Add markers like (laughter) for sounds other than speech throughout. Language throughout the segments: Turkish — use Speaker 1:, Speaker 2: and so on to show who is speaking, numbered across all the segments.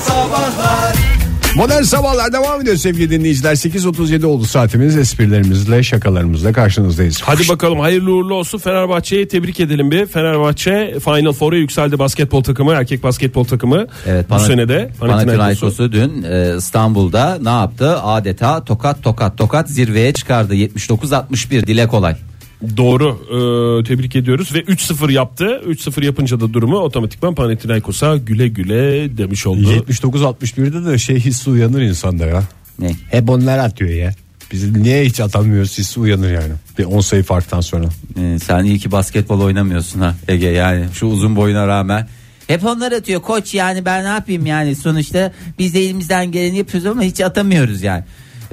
Speaker 1: Sabahlar
Speaker 2: Modern Sabahlar devam ediyor sevgili dinleyiciler. 8.37 oldu saatimiz. Esprilerimizle, şakalarımızla karşınızdayız.
Speaker 3: Hadi bakalım hayırlı uğurlu olsun Fenerbahçe'yi tebrik edelim bir. Fenerbahçe Final Four'a yükseldi basketbol takımı, erkek basketbol takımı.
Speaker 4: Evet,
Speaker 3: bu
Speaker 4: Pana-
Speaker 3: sene de Panathinaikos'u.
Speaker 4: Panathinaikos'u dün e, İstanbul'da ne yaptı? Adeta tokat tokat tokat zirveye çıkardı. 79-61 dile kolay.
Speaker 3: Doğru e, tebrik ediyoruz ve 3-0 yaptı. 3-0 yapınca da durumu otomatikman Panathinaikos'a güle güle demiş oldu.
Speaker 2: 79-61'de de şey hissi uyanır insanda ya.
Speaker 4: Ne?
Speaker 2: Hep onlar atıyor ya. Biz niye hiç atamıyoruz hissi uyanır yani. Bir 10 sayı farktan sonra.
Speaker 4: E, sen iyi ki basketbol oynamıyorsun ha Ege yani şu uzun boyuna rağmen. Hep onlar atıyor koç yani ben ne yapayım yani sonuçta biz de elimizden geleni yapıyoruz ama hiç atamıyoruz yani.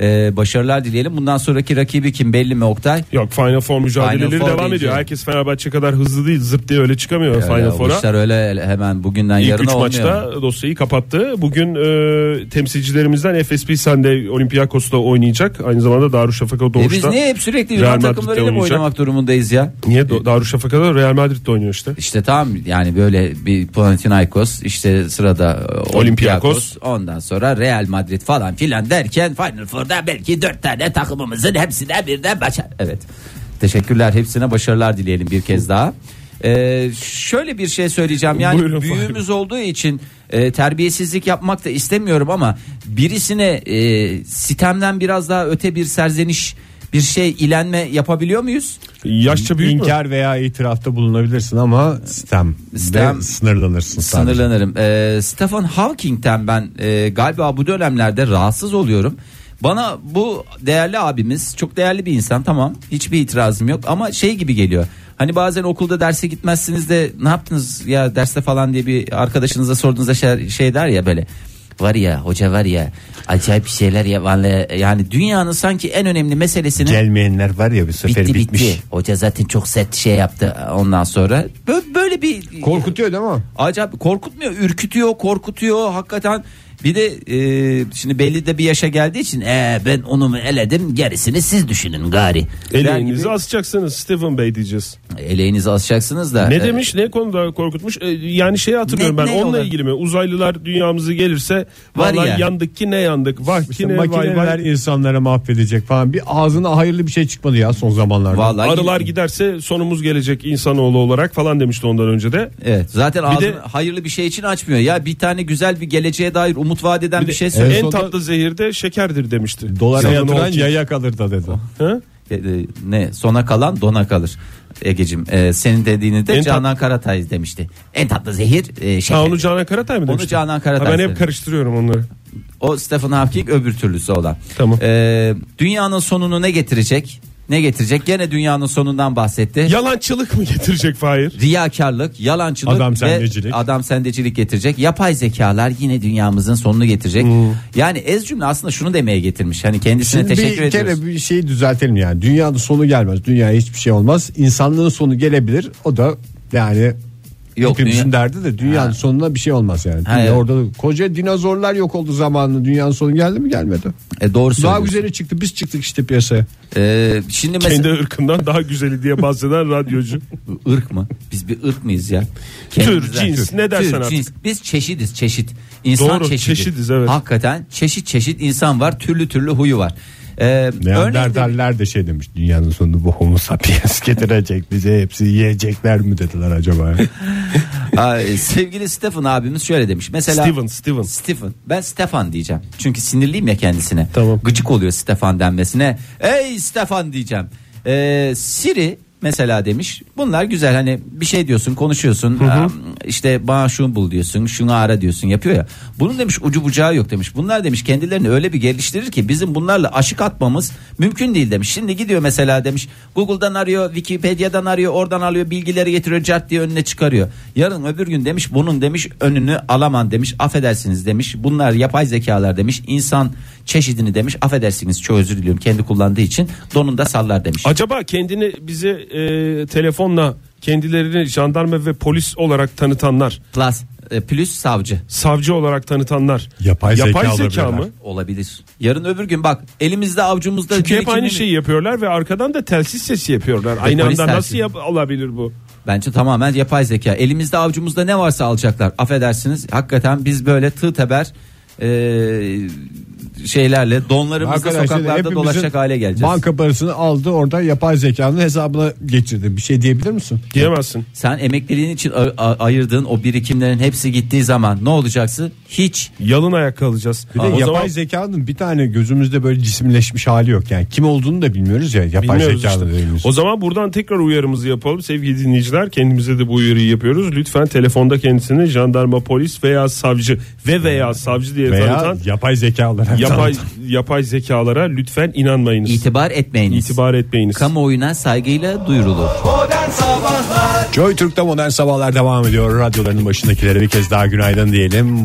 Speaker 4: E, başarılar dileyelim. Bundan sonraki rakibi kim belli mi Oktay?
Speaker 3: Yok Final Four mücadeleleri
Speaker 4: Four
Speaker 3: devam
Speaker 4: diyeceğim.
Speaker 3: ediyor. Herkes Fenerbahçe kadar hızlı değil zıp diye öyle çıkamıyor Final
Speaker 4: Öyle, bu
Speaker 3: Four'a.
Speaker 4: işler öyle hemen bugünden
Speaker 3: İlk
Speaker 4: yarına
Speaker 3: 3
Speaker 4: olmuyor.
Speaker 3: maçta dosyayı kapattı. Bugün e, temsilcilerimizden FSP Sende Olympiakos'ta oynayacak. Aynı zamanda Darüşşafaka
Speaker 4: E biz
Speaker 3: Doğuş'ta.
Speaker 4: niye hep sürekli
Speaker 3: Real
Speaker 4: Yunan
Speaker 3: Madrid'de
Speaker 4: takımlarıyla mı
Speaker 3: oynayacak.
Speaker 4: oynamak durumundayız ya?
Speaker 3: Niye Do- Darüşşafaka'da Real Madrid'de oynuyor işte.
Speaker 4: İşte tam yani böyle bir Panathinaikos işte sırada e, Olympiakos,
Speaker 3: Olympiakos.
Speaker 4: ondan sonra Real Madrid falan filan derken Final Four'da belki dört tane takımımızın hepsine birden başar. Evet teşekkürler hepsine başarılar dileyelim bir kez daha. Ee, şöyle bir şey söyleyeceğim yani
Speaker 3: Buyurun,
Speaker 4: büyüğümüz
Speaker 3: buyurun.
Speaker 4: olduğu için e, terbiyesizlik yapmak da istemiyorum ama birisine e, sitemden biraz daha öte bir serzeniş bir şey ilenme yapabiliyor muyuz?
Speaker 3: Yaşça büyük mü?
Speaker 2: İnkar veya itirafta bulunabilirsin ama sistem.
Speaker 4: Sistem-
Speaker 2: sınırlanırsın sadece.
Speaker 4: Sınırlanırım. Ee, Stephen Hawking'ten ben e, galiba bu dönemlerde rahatsız oluyorum. Bana bu değerli abimiz çok değerli bir insan tamam hiçbir itirazım yok ama şey gibi geliyor. Hani bazen okulda derse gitmezsiniz de ne yaptınız ya derste falan diye bir arkadaşınıza sorduğunuzda şey, şey der ya böyle. Var ya hoca var ya acayip bir şeyler ya vallahi yani dünyanın sanki en önemli meselesini
Speaker 2: Gelmeyenler var ya bir sefer
Speaker 4: bitti
Speaker 2: bitmiş.
Speaker 4: bitti. Hoca zaten çok sert şey yaptı ondan sonra. Bö- Böyle bir e,
Speaker 2: Korkutuyor değil mi?
Speaker 4: Acayip korkutmuyor, ürkütüyor, korkutuyor. Hakikaten bir de e, şimdi belli de bir yaşa geldiği için e, ben onu mu eledim gerisini siz düşünün gari. Der
Speaker 3: Eleğinizi
Speaker 4: gibi.
Speaker 3: asacaksınız Stephen Bey diyeceğiz.
Speaker 4: Eleğinizi asacaksınız da.
Speaker 3: Ne
Speaker 4: e,
Speaker 3: demiş ne konuda korkutmuş E, yani şeyi hatırlıyorum
Speaker 4: Ne-
Speaker 3: ben
Speaker 4: ne
Speaker 3: onunla
Speaker 4: olan?
Speaker 3: ilgili mi uzaylılar dünyamızı gelirse
Speaker 4: Var
Speaker 3: vallahi
Speaker 4: ya.
Speaker 3: yandık ki ne yandık vah ki ne vay
Speaker 2: Makineler
Speaker 3: vay
Speaker 2: insanları mahvedecek falan. Bir ağzına hayırlı bir şey çıkmadı ya son zamanlarda.
Speaker 4: Vallahi
Speaker 3: arılar giderse sonumuz gelecek insanoğlu olarak falan demişti ondan önce de
Speaker 4: Evet, zaten ağzını
Speaker 3: de-
Speaker 4: hayırlı bir şey için açmıyor. Ya bir tane güzel bir geleceğe dair umut vaat eden bir, şey söyle.
Speaker 2: En
Speaker 3: en
Speaker 2: sonunda-
Speaker 3: tatlı zehir de şekerdir demişti.
Speaker 2: Dolara
Speaker 3: Sana ne
Speaker 2: yatıran
Speaker 3: olacak?
Speaker 2: yaya kalır da dedi.
Speaker 3: Ha?
Speaker 4: E, e, ne sona kalan dona kalır. Egecim e, senin dediğini de
Speaker 3: En tat-
Speaker 4: Canan Karatay demişti. En tatlı zehir e, şeker.
Speaker 3: Ha, onu Canan Karatay mı
Speaker 4: Onu
Speaker 3: demişti?
Speaker 4: Canan Karatay
Speaker 3: Ha, ben hep
Speaker 4: söyledi.
Speaker 3: karıştırıyorum onları.
Speaker 4: O Stephen Hawking öbür türlüsü olan.
Speaker 3: Tamam.
Speaker 4: Ee, dünyanın sonunu ne getirecek? Ne getirecek? Gene dünyanın sonundan bahsetti.
Speaker 3: Yalançılık mı getirecek Fahir?
Speaker 4: Riyakarlık, yalancılık
Speaker 2: Adam
Speaker 4: ve
Speaker 2: sendecilik.
Speaker 4: adam sendecilik getirecek. Yapay zekalar yine dünyamızın sonunu getirecek. Yani ez cümle aslında şunu demeye getirmiş. Hani kendisine
Speaker 2: Hmm. Şimdi
Speaker 4: teşekkür
Speaker 2: bir
Speaker 4: ediyoruz.
Speaker 2: kere bir şeyi düzeltelim yani. Dünyanın sonu gelmez. Dünyaya hiçbir şey olmaz. İnsanlığın sonu gelebilir. O da yani
Speaker 4: Yok,
Speaker 2: hepimizin
Speaker 4: dünya-
Speaker 2: derdi de dünyanın
Speaker 4: Ha.
Speaker 2: sonuna bir şey olmaz yani.
Speaker 4: Ha,
Speaker 2: Dünya
Speaker 4: evet.
Speaker 2: Orada da- koca dinozorlar yok oldu zamanında. Dünyanın sonu geldi mi gelmedi.
Speaker 4: E, doğru
Speaker 2: Daha
Speaker 4: söylüyorsun.
Speaker 2: güzeli çıktı. Biz çıktık işte piyasaya.
Speaker 4: Ee, şimdi mesela
Speaker 3: Kendi ırkından daha güzeli diye bahseden
Speaker 2: (laughs)
Speaker 3: radyocu.
Speaker 4: ırk mı? Biz bir ırk mıyız ya?
Speaker 3: cins, ne dersen artık.
Speaker 4: Biz çeşidiz çeşit. İnsan
Speaker 3: Doğru,
Speaker 4: çeşidi.
Speaker 3: çeşidiz, evet.
Speaker 4: Hakikaten çeşit çeşit insan var. Türlü türlü huyu var. Ee, örnek de-
Speaker 2: Neandertaller de şey demiş. Dünyanın sonunu bu homo sapiens (laughs) getirecek bize. Hepsi yiyecekler mi dediler acaba?
Speaker 4: Ay, e, sevgili Stephen abimiz şöyle demiş. Mesela
Speaker 3: Steven, Steven.
Speaker 4: Stephen. Ben Stefan diyeceğim. Çünkü sinirliyim ya kendisine.
Speaker 3: Tamam.
Speaker 4: Gıcık oluyor Stefan denmesine. Ey Stefan diyeceğim. Ee, Siri mesela demiş. Bunlar güzel hani bir şey diyorsun konuşuyorsun. Am, işte bana şunu bul diyorsun. Şunu ara diyorsun yapıyor ya. Bunun demiş ucu bucağı yok demiş. Bunlar demiş kendilerini öyle bir geliştirir ki bizim bunlarla aşık atmamız mümkün değil demiş. Şimdi gidiyor mesela demiş. Google'dan arıyor, Wikipedia'dan arıyor, oradan alıyor bilgileri getiriyor cart diye önüne çıkarıyor. Yarın öbür gün demiş bunun demiş önünü alaman demiş. Affedersiniz demiş. Bunlar yapay zekalar demiş. İnsan çeşidini demiş. Affedersiniz çok özür diliyorum kendi kullandığı için donunda sallar demiş.
Speaker 3: Acaba kendini bize e, telefonla kendilerini jandarma ve polis olarak tanıtanlar,
Speaker 4: Plus, e, plus savcı
Speaker 3: savcı olarak tanıtanlar
Speaker 2: Yapay zeka olabilirler.
Speaker 3: mı?
Speaker 4: olabilir. Yarın öbür gün bak elimizde avcumuzda
Speaker 3: Çünkü hep
Speaker 4: birikimli-
Speaker 3: aynı şeyi yapıyorlar ve arkadan da telsiz sesi yapıyorlar. Aynı
Speaker 4: polis
Speaker 3: anda
Speaker 4: telsizi.
Speaker 3: nasıl yap- olabilir bu?
Speaker 4: Bence tamamen yapay zeka. Elimizde avcumuzda ne varsa alacaklar. Affedersiniz hakikaten biz böyle tığ teber e, şeylerle donlarımızla
Speaker 2: Arkadaşlar,
Speaker 4: sokaklarda
Speaker 2: hepimizin
Speaker 4: dolaşacak hale geleceğiz.
Speaker 2: Banka parasını aldı orada yapay zekanın hesabına geçirdi. Bir şey diyebilir misin?
Speaker 3: Diyemezsin.
Speaker 4: Sen emekliliğin için a- a- ayırdığın o birikimlerin hepsi gittiği zaman ne olacaksın? Hiç.
Speaker 3: Yalın ayak kalacağız.
Speaker 2: Bir de
Speaker 3: o
Speaker 2: yapay
Speaker 3: zaman
Speaker 2: zekanın bir tane gözümüzde böyle cisimleşmiş hali yok. Yani kim olduğunu da bilmiyoruz ya yapay
Speaker 3: bilmiyoruz
Speaker 2: zekalı
Speaker 3: işte.
Speaker 2: dediğimiz. şey.
Speaker 3: O zaman buradan tekrar uyarımızı yapalım sevgili dinleyiciler. Kendimize de bu uyarıyı yapıyoruz. Lütfen telefonda kendisini jandarma, polis veya savcı ve veya savcı diye
Speaker 2: Veya
Speaker 3: tanıtan
Speaker 2: yapay zeka olarak.
Speaker 3: yapay
Speaker 2: tanıtan.
Speaker 3: yapay zekalara lütfen inanmayınız.
Speaker 4: İtibar etmeyiniz.
Speaker 3: İtibar etmeyiniz.
Speaker 4: Kamuoyuna saygıyla duyurulur.
Speaker 2: Joy Türk'te modern sabahlar devam ediyor. Radyoların başındakilere bir kez daha günaydın diyelim.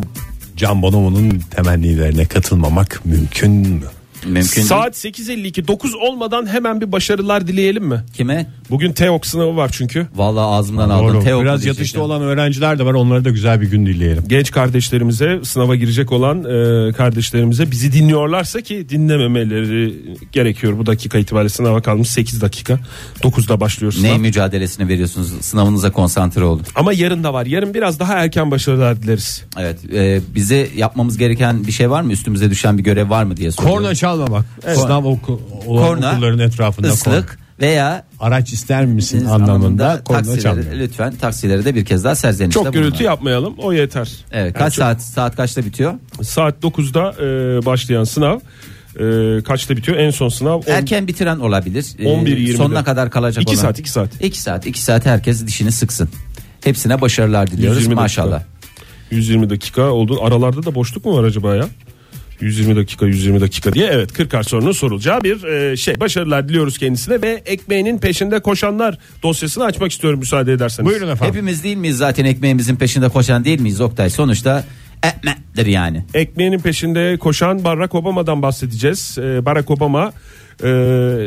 Speaker 2: Can Bonomo'nun temennilerine katılmamak mümkün mü?
Speaker 4: Mümkün değil.
Speaker 3: Saat 8.52 9 olmadan hemen bir başarılar dileyelim mi?
Speaker 4: Kime?
Speaker 3: Bugün TEOK sınavı var çünkü.
Speaker 4: Vallahi ağzımdan aldım.
Speaker 2: Doğru.
Speaker 4: Teoklu
Speaker 2: Biraz
Speaker 4: diyecektim.
Speaker 2: yatışta olan öğrenciler de var. Onlara da güzel bir gün dileyelim.
Speaker 3: Genç kardeşlerimize sınava girecek olan e, kardeşlerimize bizi dinliyorlarsa ki dinlememeleri gerekiyor. Bu dakika itibariyle sınava kalmış 8 dakika. 9'da başlıyor sınav.
Speaker 4: Ne mücadelesini veriyorsunuz? Sınavınıza konsantre olun.
Speaker 3: Ama yarın da var. Yarın biraz daha erken başarılar dileriz.
Speaker 4: Evet. e, bize yapmamız gereken bir şey var mı? Üstümüze düşen bir görev var mı diye soruyorum.
Speaker 2: Korna çalmamak. Sınav oku, olan
Speaker 4: Korna,
Speaker 2: okulların etrafında
Speaker 4: ıslık
Speaker 2: korna.
Speaker 4: veya e,
Speaker 2: Araç ister misin
Speaker 4: anlamında,
Speaker 2: anlamında, korna
Speaker 4: taksileri,
Speaker 2: çalmıyor.
Speaker 4: lütfen taksileri de bir kez daha serzenişte
Speaker 3: Çok gürültü
Speaker 4: bulunun.
Speaker 3: yapmayalım. O yeter.
Speaker 4: Evet, kaç
Speaker 3: Yani çok-
Speaker 4: saat saat kaçta bitiyor?
Speaker 3: Saat 9'da e, başlayan sınav e, kaçta bitiyor? En son sınav on-
Speaker 4: Erken bitiren olabilir. Ee,
Speaker 3: 11.20'de.
Speaker 4: Sonuna kadar kalacak
Speaker 3: İki
Speaker 4: olan.
Speaker 3: saat, iki saat.
Speaker 4: 2 saat 2 saat herkes dişini sıksın. Hepsine başarılar diliyoruz
Speaker 3: 120 dakika.
Speaker 4: maşallah.
Speaker 3: 120 dakika oldu. Aralarda da boşluk mu var acaba ya? 120 dakika 120 dakika diye evet 40 ar sorunun sorulacağı bir e, şey. Başarılar diliyoruz kendisine ve ekmeğinin peşinde koşanlar dosyasını açmak istiyorum müsaade ederseniz.
Speaker 2: Buyurun efendim.
Speaker 4: Hepimiz değil miyiz zaten ekmeğimizin peşinde koşan değil miyiz Oktay? Sonuçta ekmektir yani.
Speaker 3: Ekmeğinin peşinde koşan Barack Obama'dan bahsedeceğiz. Ee, Barack Obama e,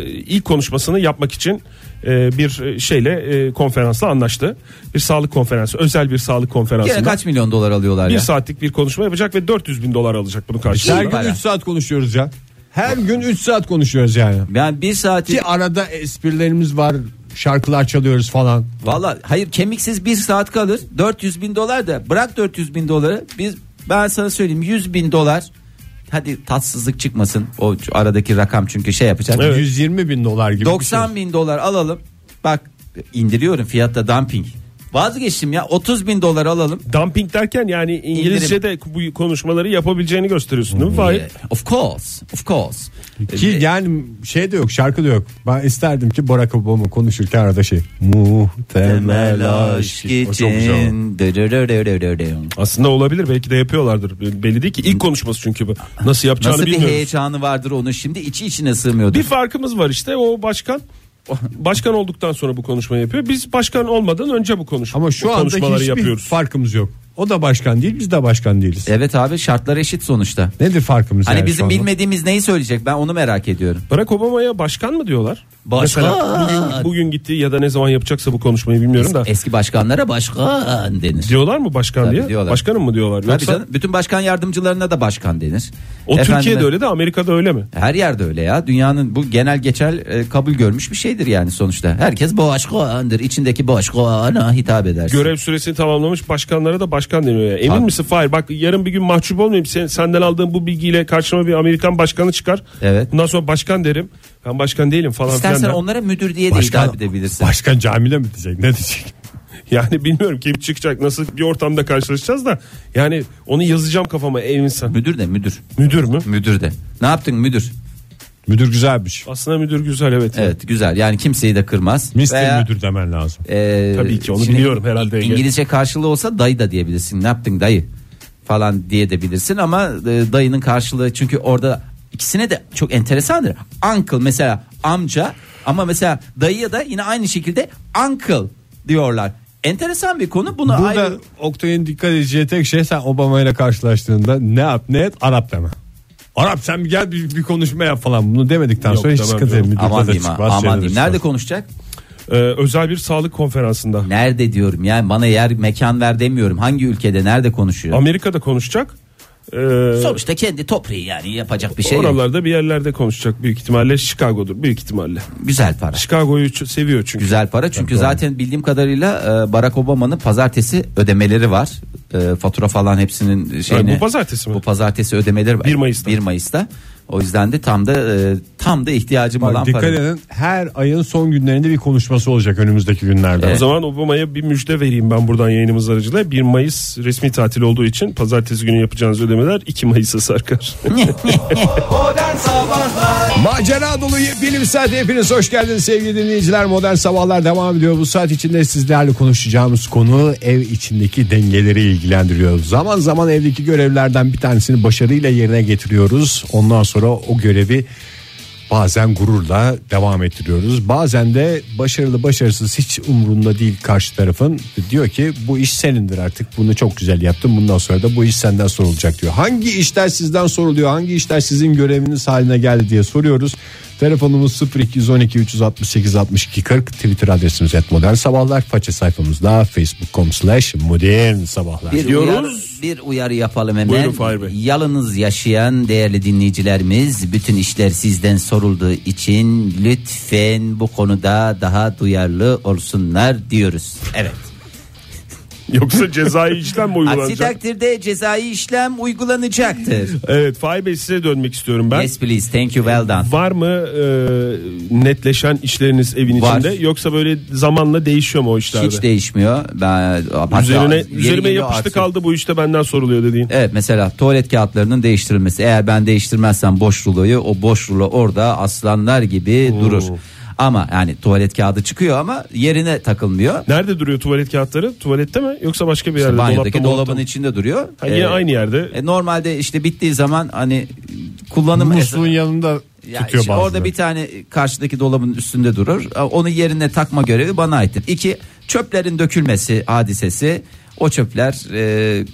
Speaker 3: ilk konuşmasını yapmak için e, bir şeyle e, konferansla anlaştı. Bir sağlık konferansı, özel bir sağlık
Speaker 4: Gene
Speaker 3: konferansında.
Speaker 4: kaç milyon dolar alıyorlar
Speaker 3: Bir
Speaker 4: ya?
Speaker 3: saatlik bir konuşma yapacak ve 400 bin dolar alacak bunun
Speaker 2: Her
Speaker 3: karşılığında.
Speaker 4: Güzel.
Speaker 2: gün 3 saat konuşuyoruz ya. Her gün 3 saat konuşuyoruz yani.
Speaker 4: Yani bir saati
Speaker 2: Ki arada esprilerimiz var. Şarkılar çalıyoruz falan.
Speaker 4: Valla hayır kemiksiz bir saat kalır. 400 bin dolar da bırak 400 bin doları. Biz ben sana söyleyeyim 100 bin dolar. Hadi tatsızlık çıkmasın o aradaki rakam çünkü şey yapacak.
Speaker 3: Evet.
Speaker 2: 120 bin dolar gibi. bir
Speaker 4: 90 bin dolar alalım. Bak indiriyorum fiyatta dumping. Vazgeçtim ya 30 bin dolar alalım.
Speaker 3: Dumping derken yani İngilizce'de bu konuşmaları yapabileceğini gösteriyorsun değil mi Fahir?
Speaker 4: Ee, Of course, of course.
Speaker 2: şey. Ki yani şey de yok şarkı da yok. Ben isterdim ki Barack Obama konuşurken arada şey. Muhtemel aşk O çok güzel.
Speaker 4: için. Dırırırırırırırım.
Speaker 3: Aslında olabilir belki de yapıyorlardır. Belli değil ki ilk konuşması çünkü bu. Nasıl yapacağını
Speaker 4: Nasıl bir
Speaker 3: bilmiyoruz.
Speaker 4: heyecanı vardır onun şimdi içi içine sığmıyordur.
Speaker 3: Bir farkımız var işte o başkan başkan olduktan sonra bu konuşmayı yapıyor. Biz başkan olmadan önce bu konuşma
Speaker 2: Ama şu
Speaker 3: bu
Speaker 2: anda
Speaker 3: konuşmaları
Speaker 2: hiçbir
Speaker 3: yapıyoruz.
Speaker 2: farkımız yok. O da başkan değil biz de başkan değiliz.
Speaker 4: Evet abi şartlar eşit sonuçta.
Speaker 2: Nedir farkımız
Speaker 4: E, Hani
Speaker 2: yani şu
Speaker 4: bizim
Speaker 2: anda?
Speaker 4: bilmediğimiz neyi söyleyecek ben onu merak ediyorum.
Speaker 3: Barack Obama'ya başkan mı diyorlar?
Speaker 4: Başkan.
Speaker 3: Mesela bugün, bugün gittiği ya da ne zaman yapacaksa bu konuşmayı bilmiyorum da.
Speaker 4: Eski başkanlara başkan denir.
Speaker 3: Diyorlar mı başkan
Speaker 4: Tabii
Speaker 3: diye?
Speaker 4: diyorlar.
Speaker 3: Başkanım mı diyorlar?
Speaker 4: Tabii
Speaker 3: Yoksa
Speaker 4: canım, bütün başkan yardımcılarına da başkan denir.
Speaker 3: o Türkiye'de öyle de Amerika'da öyle mi?
Speaker 4: Her yerde öyle ya. Dünyanın bu genel geçer e, kabul görmüş bir şeydir yani sonuçta. Herkes başkandır. İçindeki başkana hitap edersin.
Speaker 3: Görev süresini tamamlamış başkanlara da başkan deniyor. ya. Emin misin Fahir? Bak yarın bir gün mahcup olmayayım. Sen, senden aldığım bu bilgiyle karşıma bir Amerikan başkanı çıkar.
Speaker 4: Evet.
Speaker 3: Bundan sonra başkan derim. Ben başkan değilim falan
Speaker 4: İstersen
Speaker 3: filan. der.
Speaker 4: onlara müdür diye de hitap edebilirsin.
Speaker 2: başkan camide mi diyecek ne diyecek?
Speaker 3: (laughs) Yani bilmiyorum kim çıkacak nasıl bir ortamda karşılaşacağız da yani onu yazacağım kafama ev insan.
Speaker 4: müdür de müdür.
Speaker 3: Müdür mü?
Speaker 4: Müdür de. Ne yaptın müdür?
Speaker 2: Müdür güzelmiş.
Speaker 3: Aslında müdür güzel evet.
Speaker 4: Evet güzel. Yani kimseyi de kırmaz.
Speaker 2: Mister
Speaker 4: Veya,
Speaker 2: müdür demen lazım.
Speaker 4: e,
Speaker 3: Tabii ki, onu
Speaker 4: şimdi
Speaker 3: biliyorum herhalde Ege.
Speaker 4: İngilizce karşılığı olsa dayı da diyebilirsin. Ne yaptın dayı? falan diye de bilirsin ama e, dayının karşılığı çünkü orada ikisine de çok enteresandır. Uncle mesela amca ama mesela dayıya da yine aynı şekilde uncle diyorlar. Enteresan bir konu. Bunu
Speaker 2: Burada
Speaker 4: ayrı
Speaker 2: Oktay'ın dikkat edeceği tek şey sen Obama ile karşılaştığında ne yap ne et Arap deme. Arap sen bir gel bir, bir konuşma yap falan bunu demedikten
Speaker 3: Yok,
Speaker 2: sonra hiç
Speaker 3: demem
Speaker 2: sıkıntı değil.
Speaker 3: canım.
Speaker 2: Müdürle
Speaker 4: aman
Speaker 2: de
Speaker 4: diyeyim ha,
Speaker 2: çıkmaz, şeyle
Speaker 4: aman
Speaker 2: de
Speaker 4: diyeyim.
Speaker 2: çıkmaz.
Speaker 4: Nerede konuşacak?
Speaker 3: Ee, özel bir sağlık konferansında.
Speaker 4: Nerede diyorum yani bana yer mekan ver demiyorum. Hangi ülkede nerede konuşuyor?
Speaker 3: Amerika'da konuşacak. Ee,
Speaker 4: Sonuçta kendi toprağı yani yapacak bir şey yok.
Speaker 3: oralarda bir yerlerde konuşacak büyük ihtimalle Chicago'dur büyük ihtimalle.
Speaker 4: Güzel para.
Speaker 3: Chicago'yu ç- seviyor çünkü.
Speaker 4: Güzel para çünkü zaten bildiğim kadarıyla e, Barack Obama'nın pazartesi ödemeleri var. E, fatura falan hepsinin şeyini.
Speaker 3: bu pazartesi mi?
Speaker 4: Bu pazartesi ödemeleri var.
Speaker 3: 1 Mayıs'ta.
Speaker 4: 1 Mayıs'ta. O yüzden de tam da e, tam da ihtiyacım olan
Speaker 2: Bak, dikkat
Speaker 4: para.
Speaker 2: edin her ayın son günlerinde bir konuşması olacak önümüzdeki günlerde.
Speaker 3: O zaman Obama'ya bir müjde vereyim ben buradan yayınımız aracılığıyla. 1 Mayıs resmi tatil olduğu için pazartesi günü yapacağınız ödemeler 2 Mayıs'a sarkar. (laughs)
Speaker 2: Macera dolu yepyeni bir saat hepiniz hoş geldiniz sevgili dinleyiciler. Modern Sabahlar devam ediyor. Bu saat içinde sizlerle konuşacağımız konu ev içindeki dengeleri ilgilendiriyor. Zaman zaman evdeki görevlerden bir tanesini başarıyla yerine getiriyoruz. Ondan sonra o görevi bazen gururla devam ettiriyoruz. Bazen de başarılı başarısız hiç umrunda değil karşı tarafın. Diyor ki bu iş senindir artık bunu çok güzel yaptın bundan sonra da bu iş senden sorulacak diyor. Hangi işler sizden soruluyor hangi işler sizin göreviniz haline geldi diye soruyoruz. Telefonumuz 0212 368 62 40 Twitter adresimiz et modern sabahlar faça sayfamızda facebook.com slash modern sabahlar.
Speaker 4: Bir
Speaker 3: Diyoruz.
Speaker 4: uyarı, bir uyarı yapalım hemen.
Speaker 3: Buyurun Fahir Bey.
Speaker 4: Yalınız yaşayan değerli dinleyicilerimiz bütün işler sizden sorulduğu için lütfen bu konuda daha duyarlı olsunlar diyoruz. Evet.
Speaker 3: Yoksa cezai işlem mi
Speaker 4: Aksi
Speaker 3: uygulanacak?
Speaker 4: takdirde cezai işlem uygulanacaktır.
Speaker 3: Evet Fahir Bey size dönmek istiyorum ben.
Speaker 4: Yes please thank you well done.
Speaker 3: Var mı e, netleşen işleriniz evin
Speaker 4: Var.
Speaker 3: içinde yoksa böyle zamanla değişiyor mu o işlerde?
Speaker 4: Hiç değişmiyor. Ben, hatta
Speaker 3: Üzerine
Speaker 4: yeri
Speaker 3: üzerime
Speaker 4: geliyor
Speaker 3: yapıştı
Speaker 4: artık.
Speaker 3: kaldı bu işte benden soruluyor dediğin.
Speaker 4: Evet mesela tuvalet kağıtlarının değiştirilmesi. Eğer ben değiştirmezsem boş ruloyu o boş rulo orada aslanlar gibi durur. Ama yani tuvalet kağıdı çıkıyor ama yerine takılmıyor.
Speaker 3: Nerede duruyor tuvalet kağıtları? Tuvalette mi yoksa başka bir yerde?
Speaker 4: Banyodaki
Speaker 3: Dolapta mı,
Speaker 4: dolabın içinde duruyor.
Speaker 3: Ha, yine aynı yerde.
Speaker 4: e, normalde işte bittiği zaman hani kullanım
Speaker 2: Musluğun yanında
Speaker 4: Ya
Speaker 2: tutuyor
Speaker 4: işte
Speaker 2: bazıları.
Speaker 4: orada bir tane karşıdaki dolabın üstünde durur. Onu yerine takma görevi bana aittir. İki çöplerin dökülmesi hadisesi. O çöpler e,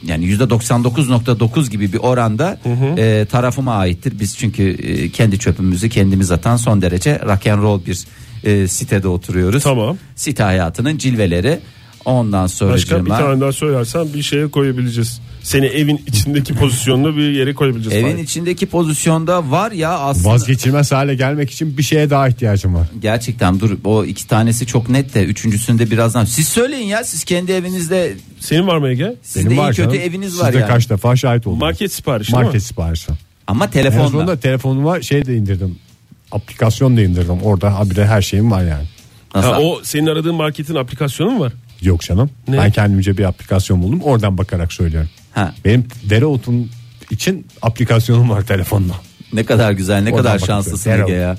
Speaker 4: yani %99.9 gibi bir oranda e, tarafıma aittir. Biz çünkü e, kendi çöpümüzü kendimiz atan son derece rock and roll bir e, sitede oturuyoruz.
Speaker 3: Tamam.
Speaker 4: Site hayatının cilveleri. Ondan sonra
Speaker 3: Başka bir tane daha söylersen bir şeye koyabileceğiz. Seni evin içindeki pozisyonunu bir yere koyabileceğiz.
Speaker 4: evin
Speaker 3: Fahir.
Speaker 4: içindeki pozisyonda var ya aslında
Speaker 2: Vazgeçilmez hale gelmek için bir şeye daha ihtiyacım var.
Speaker 4: Gerçekten dur o iki tanesi çok net de üçüncüsünde birazdan. Siz söyleyin ya siz kendi evinizde
Speaker 3: Senin var mı Ege?
Speaker 4: sizin de
Speaker 2: Benim
Speaker 4: iyi
Speaker 2: var
Speaker 4: kötü
Speaker 2: canım.
Speaker 4: eviniz
Speaker 2: Sizde
Speaker 4: var yani.
Speaker 2: kaç defa şahit oldum.
Speaker 3: Market siparişi değil mi?
Speaker 2: Market siparişi.
Speaker 4: Ama
Speaker 2: En
Speaker 4: telefonla.
Speaker 2: sonunda telefonuma şey de indirdim. Aplikasyon da indirdim. Orada habire her şeyim var yani.
Speaker 4: Nasıl?
Speaker 3: Ha, o senin aradığın marketin aplikasyonu mu var?
Speaker 2: Yok canım.
Speaker 3: Ne?
Speaker 2: Ben kendimce bir aplikasyon buldum. Oradan bakarak söylüyorum.
Speaker 4: Ha.
Speaker 2: Benim dereotun için aplikasyonum var telefonda.
Speaker 4: Ne kadar güzel ne
Speaker 2: Oradan
Speaker 4: kadar
Speaker 2: bakıyorum.
Speaker 4: şanslısın
Speaker 2: Her
Speaker 4: Ege ya.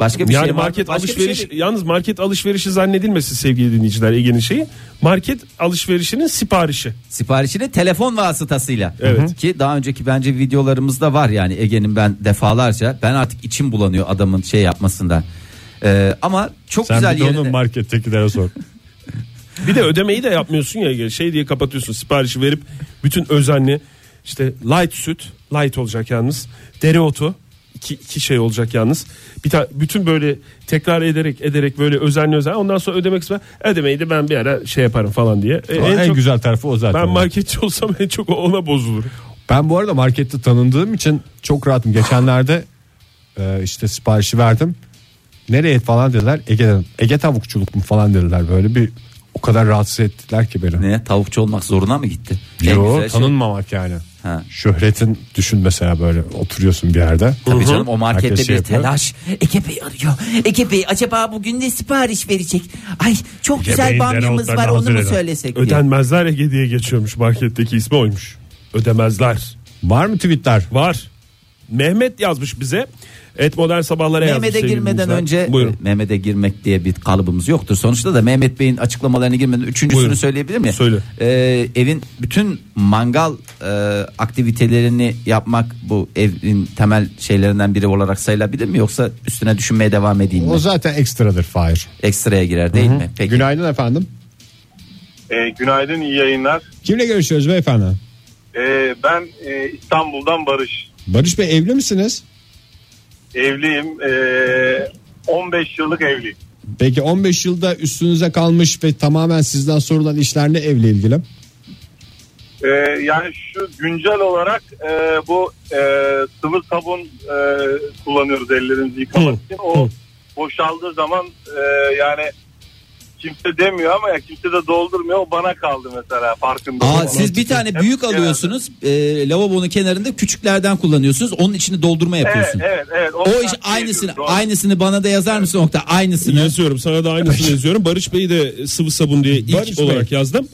Speaker 4: Başka bir
Speaker 3: yani
Speaker 4: şey var mı?
Speaker 3: market
Speaker 4: Başka bir şey
Speaker 3: alışveriş
Speaker 4: değil.
Speaker 3: yalnız market alışverişi zannedilmesin sevgili dinleyiciler Ege'nin şeyi. Market alışverişinin siparişi.
Speaker 4: siparişini telefon vasıtasıyla.
Speaker 3: Evet.
Speaker 4: Ki daha önceki bence videolarımızda var yani Ege'nin ben defalarca ben artık içim bulanıyor adamın şey yapmasından. Ee, ama çok
Speaker 2: Sen
Speaker 4: güzel
Speaker 2: bir de onu
Speaker 4: yerine-
Speaker 2: markettekilere sor.
Speaker 3: Bir de ödemeyi de yapmıyorsun ya Ege. Şey diye kapatıyorsun siparişi verip bütün özenli işte light süt, light olacak yalnız. Dereotu iki, iki şey olacak yalnız. Bir ta, bütün böyle tekrar ederek ederek böyle özenli özenli ondan sonra ödemek istiyor. Ödemeyi de ben bir ara şey yaparım falan diye. E,
Speaker 2: en,
Speaker 3: (laughs) en çok,
Speaker 2: güzel tarafı o zaten.
Speaker 3: ben marketçi olsam en çok ona bozulur.
Speaker 2: Ben bu arada markette tanındığım için çok rahatım. Geçenlerde e, işte siparişi verdim. Nereye falan dediler. Ege'den. Ege tavukçuluk mu falan dediler. Böyle bir o kadar rahatsız ettiler ki beni.
Speaker 4: Ne tavukçu olmak zoruna mı gitti? En
Speaker 2: Yo,
Speaker 4: güzel şey-
Speaker 2: tanınmamak yani.
Speaker 4: Ha.
Speaker 2: Şöhretin düşün mesela böyle oturuyorsun bir yerde.
Speaker 4: Tabii canım o markette
Speaker 2: Herkes
Speaker 4: bir
Speaker 2: şey yapıyor.
Speaker 4: telaş. Ege Bey arıyor. Ege Bey acaba bugün ne sipariş verecek? Ay çok güzel
Speaker 2: Bey'in
Speaker 4: bamyamız var
Speaker 2: dereotlarını
Speaker 4: onu
Speaker 2: hazır
Speaker 4: mu
Speaker 2: eder.
Speaker 4: söylesek diye.
Speaker 3: Ödenmezler Ege diye geçiyormuş marketteki ismi oymuş. Ödemezler.
Speaker 2: Var mı tweetler?
Speaker 3: Var. Mehmet yazmış bize. Et modern sabahlara yazmış.
Speaker 4: Mehmet'e
Speaker 3: sevgili
Speaker 4: girmeden
Speaker 3: dinleyiciler.
Speaker 4: önce
Speaker 3: şey Buyurun.
Speaker 4: Mehmet'e girmek diye bir kalıbımız yoktur. Sonuçta da Mehmet Bey'in açıklamalarına girmeden üçüncüsünü
Speaker 3: Buyurun.
Speaker 4: söyleyebilir miyim?
Speaker 3: Söyle.
Speaker 4: Ee, evin bütün mangal e, aktivitelerini yapmak bu evin temel şeylerinden biri olarak sayılabilir mi? Yoksa üstüne düşünmeye devam edeyim mi?
Speaker 2: O zaten ekstradır Fahir.
Speaker 4: Ekstraya girer değil mi? Peki.
Speaker 2: Günaydın efendim.
Speaker 1: E, günaydın, iyi yayınlar.
Speaker 2: Kimle görüşüyoruz beyefendi?
Speaker 1: E, ben e, İstanbul'dan Barış.
Speaker 2: Barış Bey evli misiniz?
Speaker 1: Evliyim. E, 15 yıllık evliyim.
Speaker 2: Peki 15 yılda üstünüze kalmış ve tamamen sizden sorulan işler ne evle ilgili?
Speaker 1: Ee, yani şu güncel olarak e, bu e, sıvı sabun e, kullanıyoruz ellerimizi yıkamak
Speaker 5: Hı.
Speaker 1: için. O
Speaker 5: Hı.
Speaker 1: boşaldığı zaman e, yani kimse demiyor ama ya kimse de doldurmuyor. O bana kaldı mesela farkında.
Speaker 4: Aa,
Speaker 1: olmadan.
Speaker 4: siz bir tane
Speaker 1: Hep
Speaker 4: büyük
Speaker 1: genelde-
Speaker 4: alıyorsunuz. E, lavabonun kenarında küçüklerden kullanıyorsunuz. Onun içini doldurma
Speaker 1: Evet
Speaker 4: yapıyorsun.
Speaker 1: evet evet. şey
Speaker 4: O iş
Speaker 1: takviye
Speaker 4: aynısını
Speaker 1: ediyoruz. O-
Speaker 4: aynısını bana da yazar mısın nokta aynısını.
Speaker 3: Yazıyorum sana da (laughs) aynısını yazıyorum. Barış Bey'i de sıvı sabun diye ilk
Speaker 2: Barış Bey.
Speaker 3: olarak yazdım.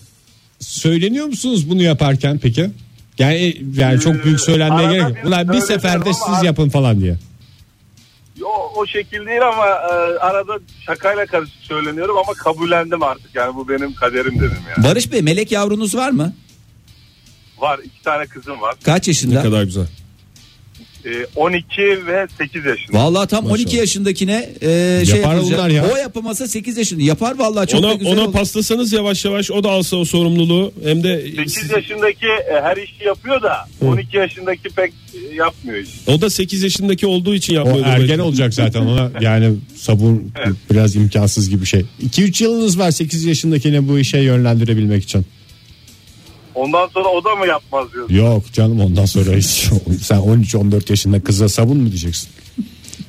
Speaker 2: Söyleniyor musunuz bunu yaparken peki? Yani yani
Speaker 3: Ee,
Speaker 2: çok büyük söylenmeye
Speaker 1: Arada
Speaker 2: gerek yok.
Speaker 1: bir
Speaker 2: Ulan bir
Speaker 1: söyleniyor
Speaker 2: seferde
Speaker 1: ama
Speaker 2: siz
Speaker 1: ar-
Speaker 2: yapın falan diye.
Speaker 1: O, o şekil değil ama e, arada şakayla karışık söyleniyorum ama kabullendim artık. Yani bu benim kaderim dedim yani.
Speaker 4: Barış Bey melek yavrunuz var mı?
Speaker 1: Var iki tane kızım var.
Speaker 4: Kaç
Speaker 3: Ne
Speaker 4: yaşında?
Speaker 3: kadar güzel.
Speaker 1: E, 12 ve 8 yaşında.
Speaker 4: Vallahi tam 12 yaşındakine e, şey
Speaker 2: Yapar
Speaker 4: yapılacak.
Speaker 2: bunlar ya.
Speaker 4: O yapamasa 8 yaşında yapar vallahi çok da
Speaker 3: ona
Speaker 4: güzel
Speaker 3: ona
Speaker 4: olur.
Speaker 3: paslasanız yavaş yavaş o da alsa o sorumluluğu hem de
Speaker 1: 8 yaşındaki e, her işi yapıyor da 12 yaşındaki pek e, yapmıyor işi.
Speaker 3: o da 8 yaşındaki olduğu için
Speaker 2: O
Speaker 3: yapmıyordur.
Speaker 2: ergen
Speaker 3: belki.
Speaker 2: olacak zaten ona yani sabun biraz imkansız gibi bir şey. 2-3 yılınız var 8 yaşındakine bu işe yönlendirebilmek için.
Speaker 1: Ondan sonra o da mı yapmaz diyorsun?
Speaker 2: Yok canım ondan sonra hiç (laughs) sen 13-14 yaşında kıza sabun mu diyeceksin?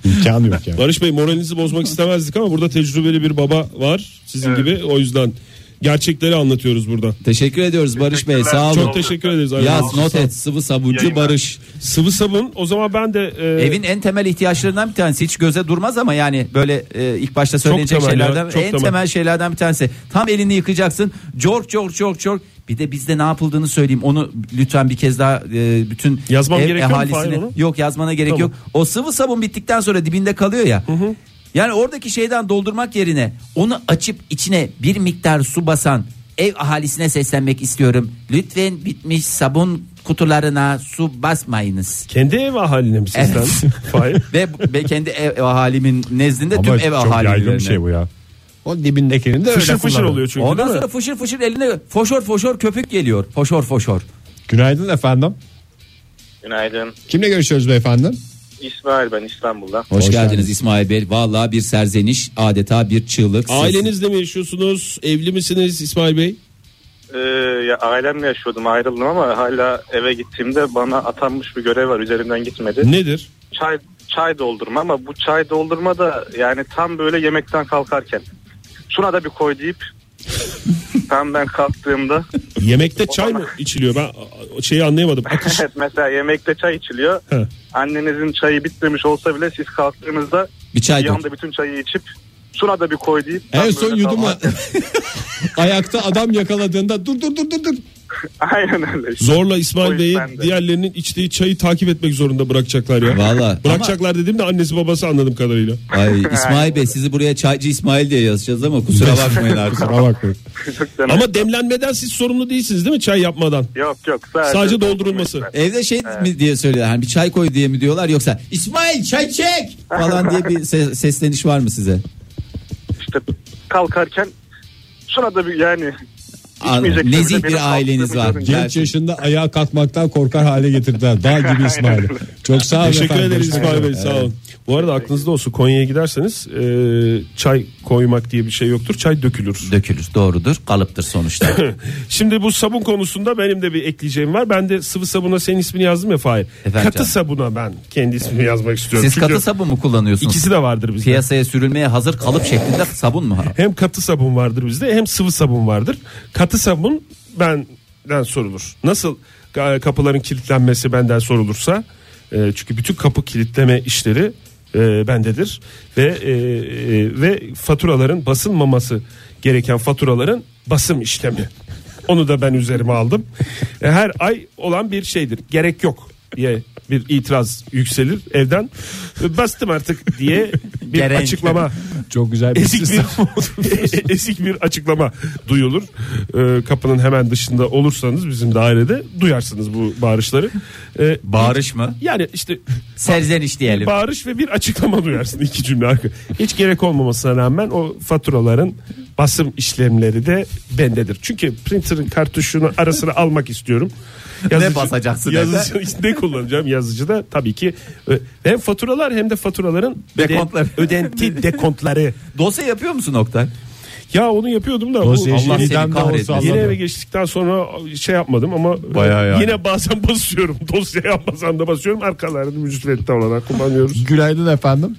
Speaker 2: İmkanı yok
Speaker 3: (laughs)
Speaker 2: yani.
Speaker 3: Barış Bey moralinizi bozmak istemezdik ama burada tecrübeli bir baba var sizin gibi o yüzden gerçekleri anlatıyoruz burada.
Speaker 4: Teşekkür ediyoruz Barış Bey sağ olun.
Speaker 1: Teşekkürler.
Speaker 3: Çok teşekkür ederiz.
Speaker 4: Yaz
Speaker 3: Aynen.
Speaker 4: not et sıvı sabuncu
Speaker 1: Yayınlar.
Speaker 4: Barış.
Speaker 3: Sıvı sabun o zaman ben de e,
Speaker 4: Evin en temel ihtiyaçlarından bir tanesi hiç göze durmaz ama yani böyle e, ilk başta söylenecek
Speaker 3: temel ya,
Speaker 4: şeylerden
Speaker 3: çok
Speaker 4: en
Speaker 3: temel.
Speaker 4: temel şeylerden bir tanesi. Tam elini yıkacaksın. Cork cork cork cork. Bir de bizde ne yapıldığını söyleyeyim. Onu lütfen bir kez daha e, bütün
Speaker 3: Yazmam
Speaker 4: ev
Speaker 3: gerekiyor mu
Speaker 4: ahalisine.
Speaker 3: Fahir onu?
Speaker 4: Yok yazmana gerek
Speaker 3: Tamam.
Speaker 4: yok. O sıvı sabun bittikten sonra dibinde kalıyor ya. Yani oradaki şeyden doldurmak yerine onu açıp içine bir miktar su basan ev ahalisine seslenmek istiyorum. Lütfen bitmiş sabun kutularına su basmayınız.
Speaker 3: kendi ev ahaline mi sizden?
Speaker 4: (laughs)
Speaker 3: Hayır.
Speaker 4: ve, ve kendi ev ahalimin nezdinde
Speaker 2: Ama
Speaker 4: tüm ev
Speaker 2: çok yaygın
Speaker 4: ahalilerine.
Speaker 2: bir şey bu ya. O dibindekinin de öyle
Speaker 3: Fışır fışır
Speaker 2: kullanın.
Speaker 3: oluyor çünkü
Speaker 4: Ondan
Speaker 3: değil mi?
Speaker 4: sonra fışır fışır eline foşor foşor köpük geliyor. Foşor foşor.
Speaker 2: Günaydın efendim.
Speaker 6: Günaydın.
Speaker 2: Kimle görüşüyoruz beyefendi?
Speaker 6: İsmail ben İstanbul'da.
Speaker 4: Hoş,
Speaker 2: Hoş
Speaker 4: geldiniz,
Speaker 2: geldiniz.
Speaker 4: İsmail Bey. Vallahi bir serzeniş adeta bir çığlık. ses.
Speaker 3: Ailenizle mi yaşıyorsunuz? Evli misiniz İsmail Bey?
Speaker 6: Ee, ya ailemle yaşıyordum ayrıldım ama hala eve gittiğimde bana atanmış bir görev var üzerinden gitmedi.
Speaker 3: Nedir?
Speaker 6: Çay çay doldurma ama bu çay doldurma da yani tam böyle yemekten kalkarken. Şuna da bir koy deyip tam ben kalktığımda
Speaker 3: Yemekte çay mı içiliyor? Ben a- şeyi anlayamadım.
Speaker 6: (laughs)
Speaker 3: Akış.
Speaker 6: evet mesela yemekte çay içiliyor.
Speaker 3: He.
Speaker 6: Annenizin çayı bitmemiş olsa bile siz kalktığınızda
Speaker 4: bir çay
Speaker 6: bir
Speaker 4: dök.
Speaker 6: anda bütün çayı içip şuna da bir koy deyip tam
Speaker 2: En son
Speaker 6: böyle
Speaker 2: yudumu
Speaker 6: kalkarken-
Speaker 3: (laughs)
Speaker 2: ayakta adam yakaladığında dur dur dur dur dur.
Speaker 6: (laughs) Aynen öyle.
Speaker 3: Zorla
Speaker 6: O
Speaker 3: İsmail Bey'i
Speaker 6: yüzden de.
Speaker 3: diğerlerinin içtiği çayı takip etmek zorunda bırakacaklar ya.
Speaker 4: Valla.
Speaker 3: Bırakacaklar dediğim de annesi babası anladığım kadarıyla.
Speaker 4: Ay İsmail Bey sizi buraya çaycı İsmail diye yazacağız ama kusura bakmayın
Speaker 2: (laughs)
Speaker 4: artık.
Speaker 2: Kusura bakmayın.
Speaker 3: Ama demlenmeden siz sorumlu değilsiniz değil mi çay yapmadan?
Speaker 6: Yok yok sadece,
Speaker 3: Sadece doldurulması.
Speaker 4: Evde şey mi diye söylüyorlar. Hani bir çay koy diye mi diyorlar yoksa İsmail çay çek falan diye bir se- sesleniş var mı size?
Speaker 6: İşte kalkarken şuna da bir yani
Speaker 4: Anladım.
Speaker 6: bile
Speaker 4: Nezih
Speaker 6: benim
Speaker 4: bir aileniz var.
Speaker 6: kalktığımı görünce.
Speaker 2: Genç yaşında ayağa kalkmaktan korkar hale getirdiler. Dağ gibi İsmail. Çok sağ olun
Speaker 3: Teşekkür
Speaker 2: efendim.
Speaker 3: ederiz
Speaker 2: Görüşmek
Speaker 3: İsmail Bey
Speaker 2: üzere.
Speaker 3: sağ olun. Bu arada aklınızda olsun Konya'ya giderseniz e, çay koymak diye bir şey yoktur. Çay dökülür.
Speaker 4: Dökülür doğrudur kalıptır
Speaker 2: (laughs)
Speaker 4: sonuçta.
Speaker 3: Şimdi bu sabun konusunda benim de bir ekleyeceğim var. Ben de sıvı sabuna senin ismini yazdım ya Fahir.
Speaker 4: Efendim
Speaker 3: katı
Speaker 4: canım.
Speaker 3: sabuna ben kendi ismimi yazmak istiyorum.
Speaker 4: Siz
Speaker 3: Çünkü
Speaker 4: katı sabun mu kullanıyorsunuz?
Speaker 3: ikisi de vardır bizde.
Speaker 4: Piyasaya sürülmeye hazır kalıp şeklinde sabun mu?
Speaker 3: Hem katı sabun vardır bizde hem sıvı sabun vardır. Katı sabun benden sorulur. Nasıl e, kapıların kilitlenmesi benden sorulursa e, çünkü bütün kapı kilitleme işleri e, bendedir ve e, e, ve faturaların basılmaması gereken faturaların basım işlemi. (laughs) Onu da ben üzerime aldım. E, Her ay olan bir şeydir. Gerek yok diye bir itiraz yükselir evden. E, Bastım artık diye bir
Speaker 4: Gerek.
Speaker 3: açıklama
Speaker 2: Çok güzel bir
Speaker 3: Ezik bir,
Speaker 2: sistem.
Speaker 3: ezik bir açıklama duyulur. Ee, kapının hemen dışında olursanız bizim dairede duyarsınız bu bağırışları. Ee,
Speaker 4: Bağırış mı?
Speaker 3: yani işte
Speaker 4: Serzeniş diyelim.
Speaker 3: bağırış ve bir açıklama duyarsın iki cümle arka. Hiç gerek olmamasına rağmen o faturaların basım işlemleri de bendedir. Çünkü printer'ın kartuşunu arasına almak istiyorum.
Speaker 4: basacaksın
Speaker 3: yazıcı, (laughs) ne kullanacağım yazıcıda tabii ki ö- hem faturalar hem de faturaların öde-
Speaker 4: Dekontları.
Speaker 3: ödenti dekontları
Speaker 4: Dosya yapıyor musun Oktay?
Speaker 3: Ya onu yapıyordum da bu-
Speaker 2: Nasıl
Speaker 3: Allah
Speaker 4: seni
Speaker 2: yeşilden de
Speaker 4: kahretmesin.
Speaker 2: olsa
Speaker 3: yeni
Speaker 2: anlamıyorum.
Speaker 3: eve geçtikten sonra şey yapmadım ama
Speaker 2: Bayağı yani.
Speaker 3: yine bazen (laughs) basıyorum. Dosyaya bazen de basıyorum. Arkalarını mücüsvetti
Speaker 2: (laughs)
Speaker 3: olarak kullanıyoruz.
Speaker 2: Günaydın efendim.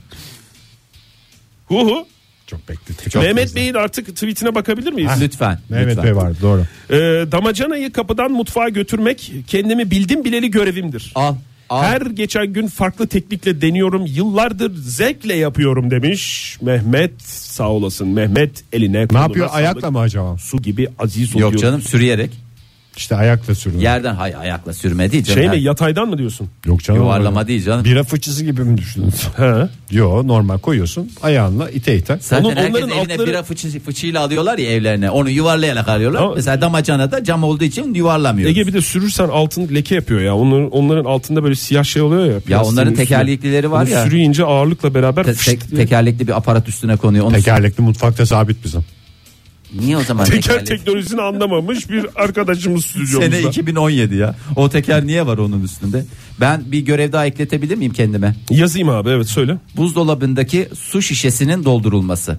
Speaker 3: Hu hu.
Speaker 2: Çok beklettik.
Speaker 3: Mehmet Bey'in artık tweetine bakabilir miyiz?
Speaker 4: Lütfen.
Speaker 2: Mehmet
Speaker 4: lütfen.
Speaker 2: Bey var doğru.
Speaker 3: Ee, damacanayı kapıdan mutfağa götürmek kendimi bildim bileli görevimdir.
Speaker 4: Al. Al.
Speaker 3: Her geçen gün farklı teknikle deniyorum. Yıllardır zevkle yapıyorum demiş. Mehmet sağ olasın. Mehmet eline
Speaker 2: Ne
Speaker 3: koluna
Speaker 2: yapıyor
Speaker 3: sağlık.
Speaker 2: ayakla mı acaba?
Speaker 3: su gibi aziz oluyor.
Speaker 4: Yok canım sürüyerek.
Speaker 2: İşte ayakla sürüyor.
Speaker 4: Yerden hay ayakla sürme değil canım.
Speaker 3: Şey mi
Speaker 4: Yani
Speaker 3: yataydan mı diyorsun?
Speaker 2: Yok canım.
Speaker 4: Yuvarlama değil canım.
Speaker 2: Bira fıçısı gibi
Speaker 4: (laughs)
Speaker 2: mi düşündünüz?
Speaker 3: He.
Speaker 2: Yo normal koyuyorsun ayağınla ite ite.
Speaker 4: Zaten
Speaker 3: Onun-
Speaker 4: herkes
Speaker 3: onların
Speaker 4: evine
Speaker 3: altları-
Speaker 4: bira fıçı, fıçıyla alıyorlar ya evlerine. Onu yuvarlayarak alıyorlar.
Speaker 3: Ama-
Speaker 4: Mesela damacana da cam olduğu için yuvarlamıyor.
Speaker 3: Ege bir de sürürsen altın leke yapıyor ya. Onların, onların altında böyle siyah şey oluyor ya. plastiğin
Speaker 4: onların
Speaker 3: üstüne.
Speaker 4: tekerleklileri var
Speaker 3: Onu
Speaker 4: ya.
Speaker 3: Sürüyünce ağırlıkla beraber
Speaker 4: Te-
Speaker 3: fışt
Speaker 4: tek-
Speaker 3: diye-
Speaker 4: tekerlekli bir aparat üstüne konuyor. Onu
Speaker 2: Tekerlekli mutfakta sabit bizim.
Speaker 4: Niye o zaman
Speaker 3: (laughs) teker
Speaker 4: tekerlekli?
Speaker 3: teknolojisini anlamamış bir arkadaşımız stüdyomuzda.
Speaker 4: Sene 2017 ya. O teker niye var onun üstünde? Ben bir görev daha ekletebilir miyim kendime?
Speaker 3: Yazayım abi evet söyle.
Speaker 4: Buzdolabındaki su şişesinin doldurulması.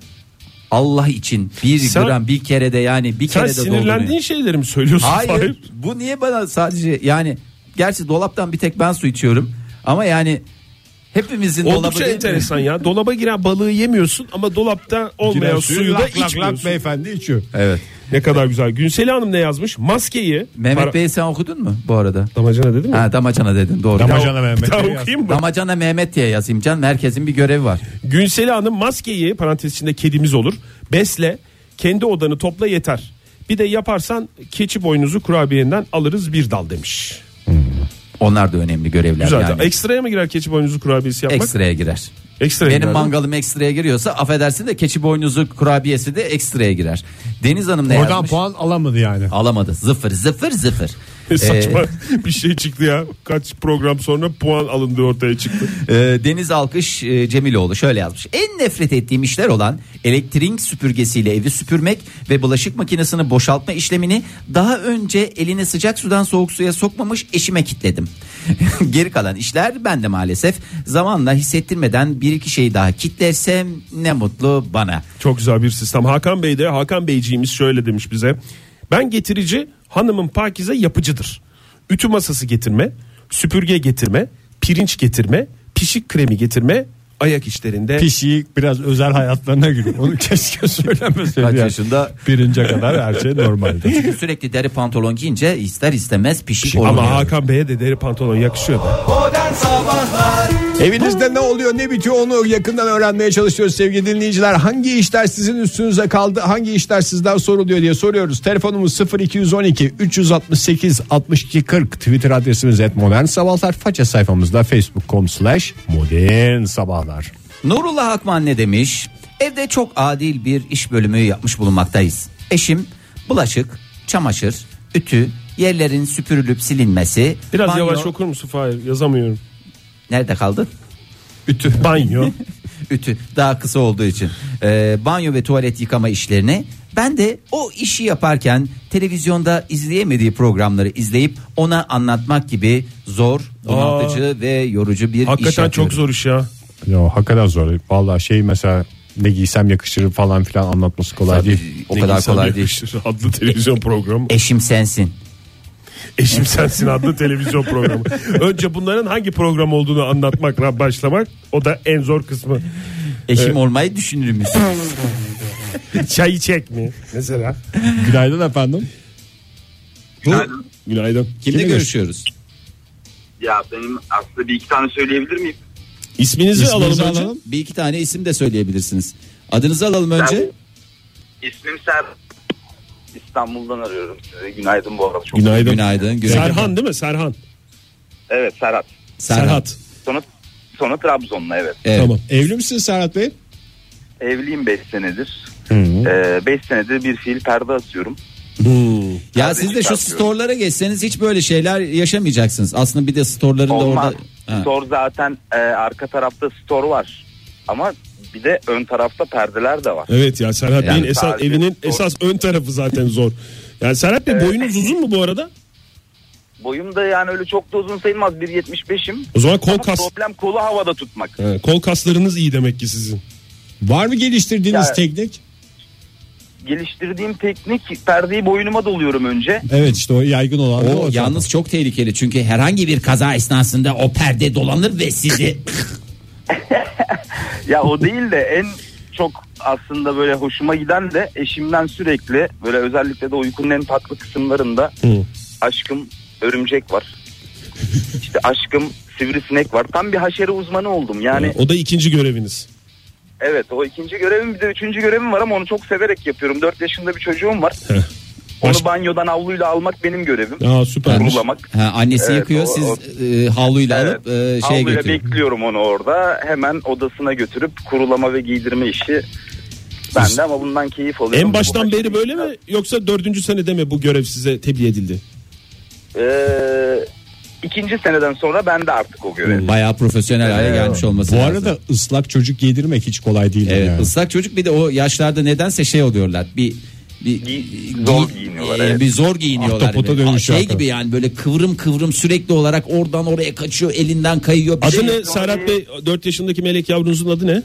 Speaker 4: Allah için bir
Speaker 3: Sen-
Speaker 4: gram bir kere de yani bir
Speaker 3: Sen
Speaker 4: kere de dolduruyor.
Speaker 3: sinirlendiğin şey şeyleri mi söylüyorsun?
Speaker 4: Hayır,
Speaker 3: Fahir?
Speaker 4: bu niye bana sadece yani gerçi dolaptan bir tek ben su içiyorum ama yani hepimizin dolabı
Speaker 3: Oldukça
Speaker 4: değil mi?
Speaker 3: enteresan ya. Dolaba giren balığı yemiyorsun ama dolapta olmayan suyu da içmiyorsun.
Speaker 2: beyefendi içiyor.
Speaker 4: Evet.
Speaker 3: ne kadar güzel. Günseli Hanım ne yazmış? Maskeyi.
Speaker 4: Mehmet
Speaker 3: Para-
Speaker 4: Bey sen okudun mu bu arada?
Speaker 3: Damacana dedim mi?
Speaker 4: Ha damacana dedin doğru.
Speaker 2: Damacana Mehmet
Speaker 3: Daha
Speaker 2: Bey yaz.
Speaker 3: okuyayım mı?
Speaker 4: Damacana Mehmet diye yazayım canım herkesin bir görevi var.
Speaker 3: Günseli Hanım maskeyi parantez içinde kedimiz olur. Besle. Kendi odanı topla yeter. Bir de yaparsan keçi boynuzu kurabiyenden alırız bir dal demiş.
Speaker 4: Onlar da önemli görevler
Speaker 3: Güzel.
Speaker 4: yani.
Speaker 3: Ekstraya mı girer keçi boynuzu kurabiyesi yapmak?
Speaker 4: Ekstraya girer.
Speaker 3: Ekstraya
Speaker 4: Benim
Speaker 3: girer,
Speaker 4: mangalım ekstraya giriyorsa affedersin de keçi boynuzu kurabiyesi de ekstraya girer. Deniz Hanım ne
Speaker 2: Oradan
Speaker 4: yazmış?
Speaker 2: puan E,
Speaker 4: (laughs)
Speaker 2: alamadı yani.
Speaker 4: Alamadı. Zıfır zıfır
Speaker 2: (laughs)
Speaker 4: zıfır. Ee,
Speaker 3: Ne (laughs) Saçma (laughs) bir şey çıktı ya. Kaç program sonra puan alındı ortaya çıktı.
Speaker 4: Ee, e, Deniz Alkış e, Cemiloğlu şöyle yazmış. En nefret ettiğim işler olan elektrik süpürgesiyle evi süpürmek ve bulaşık makinesini boşaltma işlemini daha önce elini sıcak sudan soğuk suya sokmamış eşime kitledim. (laughs) Geri kalan işler ben de maalesef zamanla hissettirmeden bir iki şey daha kitlersem ne mutlu bana.
Speaker 3: Çok güzel bir sistem. Hakan Bey de Hakan Beyciğimiz şöyle demiş bize. Ben getirici hanımın pakize yapıcıdır. Ütü masası getirme, süpürge getirme, pirinç getirme, pişik kremi getirme, ayak işlerinde
Speaker 2: Pişiyi biraz özel hayatlarına giriyor.
Speaker 4: (laughs)
Speaker 2: Onu keşke söylemeseydi.
Speaker 4: Kaç
Speaker 2: ya.
Speaker 4: yaşında?
Speaker 2: Birince kadar her şey normaldi.
Speaker 4: Çünkü sürekli deri pantolon giyince ister istemez pişik oluyor.
Speaker 3: ama Hakan Bey'e de deri pantolon yakışıyor da.
Speaker 2: Evinizde ne oluyor ne bitiyor onu yakından öğrenmeye çalışıyoruz sevgili dinleyiciler. Hangi işler sizin üstünüze kaldı hangi işler sizden soruluyor diye soruyoruz. Telefonumuz 0212 368 62 40 Twitter adresimiz et modern sabahlar. Faça sayfamızda facebook.com slash modern sabahlar.
Speaker 4: Nurullah Akman ne demiş? Evde çok adil bir iş bölümü yapmış bulunmaktayız. Eşim bulaşık, çamaşır, ütü, yerlerin süpürülüp silinmesi.
Speaker 3: Biraz
Speaker 4: banyo-
Speaker 3: yavaş okur musun Fahir? Yazamıyorum.
Speaker 4: Nerede kaldı?
Speaker 3: Ütü. Banyo.
Speaker 4: Ütü daha kısa olduğu için. Ee, banyo ve tuvalet yıkama işlerini. Ben de o işi yaparken televizyonda izleyemediği programları izleyip ona anlatmak gibi zor, bunaltıcı ve yorucu bir iş
Speaker 3: Hakikaten
Speaker 4: yapıyorum.
Speaker 3: çok zor iş ya.
Speaker 2: Yo, hakikaten zor. Vallahi şey mesela ne giysem yakışır falan filan anlatması kolay değil.
Speaker 4: O kadar
Speaker 3: İnsan
Speaker 4: kolay değil.
Speaker 3: yakışır adlı televizyon programı.
Speaker 4: Eşim sensin.
Speaker 3: Eşim Sensin adlı televizyon programı. Önce bunların hangi program olduğunu anlatmakla başlamak o da en zor kısmı.
Speaker 4: Eşim olmayı düşünür müsün?
Speaker 3: Çayı çek mi mesela?
Speaker 2: Günaydın efendim.
Speaker 7: Günaydın.
Speaker 3: Günaydın.
Speaker 4: Kimle görüşüyoruz?
Speaker 7: Ya benim aslında bir iki tane söyleyebilir miyim?
Speaker 3: İsminizi,
Speaker 2: İsminizi
Speaker 3: alalım, önce.
Speaker 2: alalım.
Speaker 4: Bir iki tane isim de söyleyebilirsiniz. Adınızı alalım önce.
Speaker 7: İsmim Ser. İstanbul'dan arıyorum sizi. Günaydın bu arada. Çok...
Speaker 3: Günaydın.
Speaker 4: Günaydın. günaydın.
Speaker 3: Serhan değil mi? Serhan.
Speaker 7: Evet Serhat.
Speaker 4: Serhat.
Speaker 3: Serhat.
Speaker 7: Sonra, sonra Trabzon'la evet.
Speaker 4: Evet.
Speaker 2: Tamam. Evli misin Serhat Bey?
Speaker 7: Evliyim 5 senedir. 5 senedir bir fiil perde atıyorum.
Speaker 4: Ya
Speaker 7: Sadece
Speaker 4: siz de şu
Speaker 7: çıkartıyorum.
Speaker 4: storlara geçseniz hiç böyle şeyler yaşamayacaksınız. Aslında bir de storların da
Speaker 7: Olmaz.
Speaker 4: orada... Ha.
Speaker 7: Store zaten e, arka tarafta store var. Ama bir de ön tarafta perdeler de var.
Speaker 3: Evet ya Serhat
Speaker 4: Yani
Speaker 3: Bey'in esas
Speaker 7: sadece
Speaker 3: evinin
Speaker 7: zor.
Speaker 3: esas ön tarafı zaten zor. Yani Serhat Bey boyunuz uzun mu bu arada?
Speaker 7: Boyum da yani öyle çok da uzun sayılmaz. 1.75'im.
Speaker 3: O zaman kol
Speaker 7: Ama
Speaker 3: kas
Speaker 7: problem kolu havada tutmak.
Speaker 3: He, kol kaslarınız iyi demek ki sizin.
Speaker 2: Var mı geliştirdiğiniz
Speaker 7: Ya-
Speaker 2: teknik?
Speaker 7: geliştirdiğim teknik perdeyi boynuma doluyorum önce.
Speaker 2: Evet işte o yaygın olan. da
Speaker 4: O yalnız çok tehlikeli çünkü herhangi bir kaza esnasında o perde dolanır ve
Speaker 7: (laughs)
Speaker 4: sizi
Speaker 7: Ya o değil de en çok aslında böyle hoşuma giden de eşimden sürekli böyle özellikle de uykunun en tatlı kısımlarında aşkım örümcek var. İşte aşkım sivrisinek var. Tam bir haşere uzmanı oldum. Yani
Speaker 3: O da ikinci göreviniz.
Speaker 7: evet o ikinci görevim bir de üçüncü görevim var ama onu çok severek yapıyorum. 4 yaşında bir çocuğum var.
Speaker 3: Baş-
Speaker 7: Onu banyodan havluyla almak benim görevim.
Speaker 3: Aa süpermiş.
Speaker 7: Kurulamak.
Speaker 4: ha, annesi
Speaker 7: Evet,
Speaker 4: yıkıyor
Speaker 7: o-
Speaker 4: siz
Speaker 7: o-
Speaker 4: e, havluyla
Speaker 7: Evet.
Speaker 4: alıp e, şeye
Speaker 7: Havluyla
Speaker 4: götürüyor.
Speaker 7: bekliyorum onu orada. Hemen odasına götürüp kurulama ve giydirme işi bende ama bundan keyif alıyorum.
Speaker 3: En baştan
Speaker 7: Bu
Speaker 3: beri böyle mi yoksa dördüncü senede mi bu görev size tebliğ edildi?
Speaker 7: Ee, ikinci seneden sonra ben de artık o
Speaker 3: Hmm.
Speaker 7: görev.
Speaker 4: Bayağı profesyonel hale gelmiş olması
Speaker 2: Bu
Speaker 4: lazım.
Speaker 2: arada ıslak çocuk yedirmek hiç kolay değil.
Speaker 4: Evet,
Speaker 2: yani.
Speaker 4: Ee, ıslak çocuk bir de o yaşlarda nedense şey oluyorlar. Bir bir
Speaker 7: Gi- zor
Speaker 4: gi-
Speaker 7: giyiniyorlar,
Speaker 4: e,
Speaker 7: evet.
Speaker 4: Bir zor giyiniyorlar.
Speaker 2: Ahtapota
Speaker 4: Böyle.
Speaker 2: dönmüş
Speaker 4: şey
Speaker 2: hakikaten.
Speaker 4: gibi yani böyle kıvrım kıvrım sürekli olarak oradan oraya kaçıyor, elinden kayıyor. Bir
Speaker 3: Adı
Speaker 4: şey-
Speaker 3: ne Serhat Bey? 4 yaşındaki melek yavrunuzun adı ne?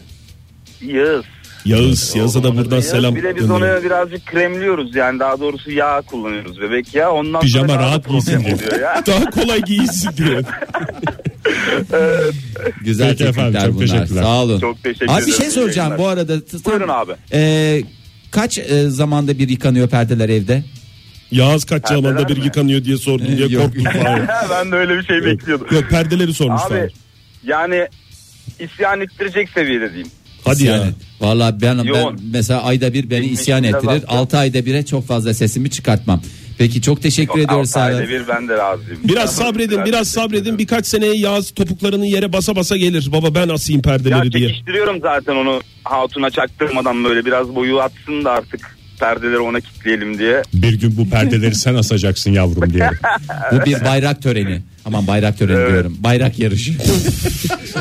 Speaker 7: Yağız.
Speaker 3: Yağız. Yağız'a da buradan
Speaker 7: Ee, Yağız.
Speaker 3: selam
Speaker 7: Bir de biz
Speaker 3: gönderiyorum.
Speaker 7: onu birazcık kremliyoruz yani daha doğrusu yağ kullanıyoruz bebek ya. Ondan
Speaker 3: Pijama
Speaker 7: sonra daha da (laughs)
Speaker 3: rahat
Speaker 7: problem
Speaker 3: giysin diye.
Speaker 7: oluyor ya.
Speaker 3: Daha kolay giyinsin diye.
Speaker 4: Güzel
Speaker 3: Peki
Speaker 4: teknikler
Speaker 3: efendim, çok
Speaker 4: bunlar.
Speaker 3: teşekkürler.
Speaker 4: Sağ olun.
Speaker 7: Çok teşekkür
Speaker 4: Abi bir
Speaker 7: ederim.
Speaker 4: şey soracağım
Speaker 7: İyi
Speaker 4: bu arada. T- tam-
Speaker 7: Buyurun abi.
Speaker 4: E, kaç e, zamanda bir yıkanıyor perdeler evde?
Speaker 3: Yağız kaç zamanda bir
Speaker 7: mi?
Speaker 3: yıkanıyor diye sordun diye
Speaker 4: Yok.
Speaker 3: korktum. Fahir.
Speaker 7: ben de öyle bir şey (laughs) bekliyordum.
Speaker 3: Yok perdeleri sormuş
Speaker 7: Abi
Speaker 3: Fahir.
Speaker 7: yani isyan ettirecek seviyede diyeyim.
Speaker 3: Hadi
Speaker 4: İsyan
Speaker 3: ya.
Speaker 4: et. Vallahi ben, ben
Speaker 7: Yoğun.
Speaker 4: mesela ayda bir beni
Speaker 7: Benim
Speaker 4: isyan
Speaker 7: işimde
Speaker 4: ettirir.
Speaker 7: var.
Speaker 4: 6 ayda bire çok fazla sesimi çıkartmam. Peki çok teşekkür ediyoruz
Speaker 7: Altı ayda
Speaker 4: Serhat.
Speaker 7: bir ben de razıyım.
Speaker 3: Biraz sabredin, biraz sabredin. Birkaç seneye Yağız topuklarının yere basa basa gelir. Baba ben asayım
Speaker 7: Ya
Speaker 3: perdeleri diye.
Speaker 7: çekiştiriyorum zaten onu hatuna çaktırmadan böyle biraz boyu atsın da artık perdeleri ona kitleyelim diye.
Speaker 2: Bir gün bu perdeleri sen asacaksın yavrum
Speaker 7: (laughs)
Speaker 2: diye.
Speaker 4: Bu bir bayrak töreni. Aman bayrak töreni diyorum. Bayrak yarışı.
Speaker 3: (laughs)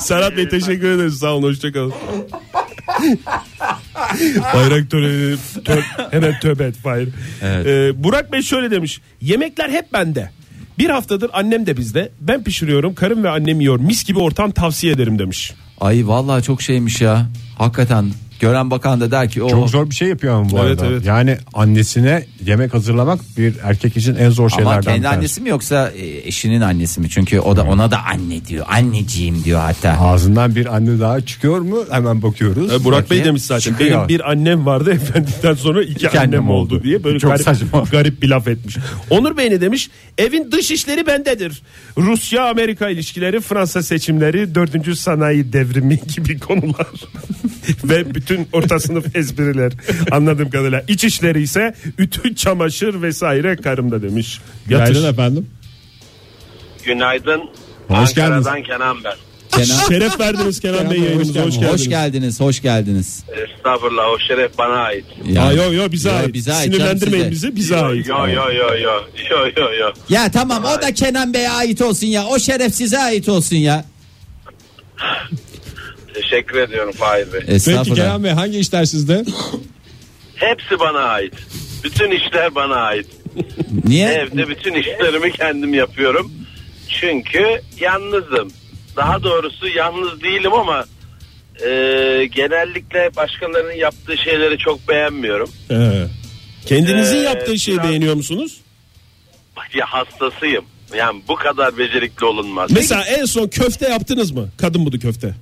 Speaker 3: Serhat Bey teşekkür ederiz. Sağ olun, hoşçakalın. Bayrak töreni tö- hemen tövbe et Fahir. Ee, Burak Bey şöyle demiş. Yemekler hep bende. Bir haftadır annem de bizde. Ben pişiriyorum, karım ve annem yiyor. Mis gibi ortam tavsiye ederim demiş.
Speaker 8: Ay vallahi çok şeymiş ya. Hakikaten gören bakan da der ki o
Speaker 2: Çok zor bir şey yapıyor ama bu
Speaker 3: Evet,
Speaker 2: arada.
Speaker 3: evet.
Speaker 2: Yani annesine yemek hazırlamak bir erkek için en zor şeylerden
Speaker 8: ama
Speaker 2: bir
Speaker 8: kendi
Speaker 2: tanesi. Hmm.
Speaker 8: annesi mi yoksa e, eşinin annesi mi? Çünkü o da ona da anne diyor. Anneciğim diyor hatta.
Speaker 2: Ağzından bir anne daha çıkıyor mu hemen bakıyoruz.
Speaker 3: Ee, Burak Bey
Speaker 8: Bakayım.
Speaker 3: demiş zaten.
Speaker 2: Çıkıyor.
Speaker 3: Benim bir annem vardı (laughs) efendiden sonra iki, annem,
Speaker 2: annem
Speaker 3: oldu.
Speaker 2: oldu.
Speaker 3: diye böyle
Speaker 2: Çok
Speaker 3: garip,
Speaker 2: saçma.
Speaker 3: (laughs) garip bir laf etmiş. Onur Bey ne demiş? Evin dış işleri bendedir. Rusya Amerika ilişkileri, Fransa seçimleri, dördüncü sanayi devrimi (laughs) gibi konular ve bütün orta sınıf espriler anladığım kadarıyla. İç işleri ise ütü, çamaşır vesaire karımda demiş. Yatır.
Speaker 2: Günaydın efendim.
Speaker 9: Günaydın.
Speaker 2: Hoş geldiniz.
Speaker 9: Ankara'dan Kenan ben.
Speaker 4: Kenan
Speaker 3: Şeref verdiniz Kenan Bey yayınımıza hoş geldiniz.
Speaker 4: Hoş geldiniz, hoş geldiniz.
Speaker 9: Estağfurullah o şeref bana ait.
Speaker 4: Ya,
Speaker 3: Aa, yo yo bize
Speaker 4: Yo,
Speaker 3: ait.
Speaker 4: bize ait canım
Speaker 3: Sinirlendirmeyin
Speaker 4: size.
Speaker 3: bizi bize ait.
Speaker 9: Yo yo yo yo. Yo yo yo.
Speaker 4: Ya tamam o da Kenan Bey'e ait olsun ya. O şeref size ait olsun ya.
Speaker 9: Teşekkür ediyorum Fahir Bey.
Speaker 3: E-
Speaker 2: Peki
Speaker 4: Estağfurullah.
Speaker 2: Kenan Bey hangi işler sizde?
Speaker 9: Hepsi bana ait. Bütün işler bana ait.
Speaker 3: E-
Speaker 4: Niye?
Speaker 9: Evde bütün işlerimi kendim yapıyorum. Çünkü yalnızım. Daha doğrusu yalnız değilim ama e, genellikle başkalarının yaptığı şeyleri çok beğenmiyorum.
Speaker 3: Kendinizin
Speaker 4: e,
Speaker 9: Ee,
Speaker 3: yaptığı şeyi
Speaker 9: biraz-
Speaker 3: beğeniyor musunuz?
Speaker 9: Ya hastasıyım. Yani bu kadar becerikli olunmaz.
Speaker 3: Mesela en son köfte yaptınız mı? Kadın budu köfte.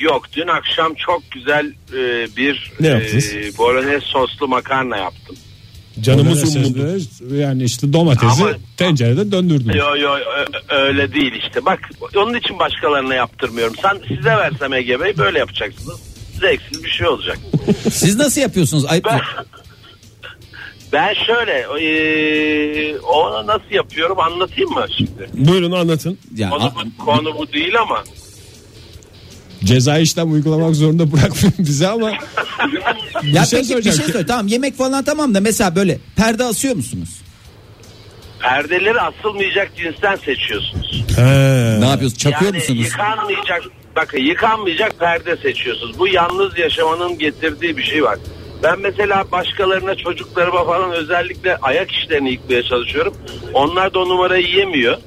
Speaker 9: Yok dün akşam çok güzel e, bir
Speaker 3: Ne yaptınız?
Speaker 9: e, bolognese soslu makarna yaptım.
Speaker 3: Canımız
Speaker 2: Domatesleri,
Speaker 3: umurumda.
Speaker 2: Yani işte domatesi
Speaker 9: Ama-
Speaker 2: tencerede döndürdüm.
Speaker 9: Yo yo ö- öyle değil işte. Bak onun için başkalarına yaptırmıyorum. Sen size versem Ege Bey böyle yapacaksınız. Zevksiz bir şey olacak.
Speaker 4: Siz nasıl yapıyorsunuz? Ayıp mı?
Speaker 9: Ben ben şöyle e, onu nasıl yapıyorum anlatayım mı şimdi?
Speaker 3: Buyurun anlatın.
Speaker 4: Ya,
Speaker 9: Konu bu, konu bu değil ama.
Speaker 2: Ceza işlem uygulamak zorunda bırakmayın bize ama
Speaker 4: ya
Speaker 2: bir
Speaker 4: peki,
Speaker 2: şey
Speaker 4: bir şey
Speaker 2: soracağım.
Speaker 4: söyle. Tamam yemek falan tamam da mesela böyle perde asıyor musunuz?
Speaker 9: Perdeleri asılmayacak cinsten seçiyorsunuz.
Speaker 4: Ne yapıyorsunuz? Çakıyor
Speaker 9: yani
Speaker 4: musunuz?
Speaker 9: Yıkanmayacak bakın yıkanmayacak perde seçiyorsunuz. Bu yalnız yaşamanın getirdiği bir şey var. Ben mesela başkalarına çocuklarıma falan özellikle ayak işlerini yıkmaya çalışıyorum. Onlar da o numarayı yemiyor.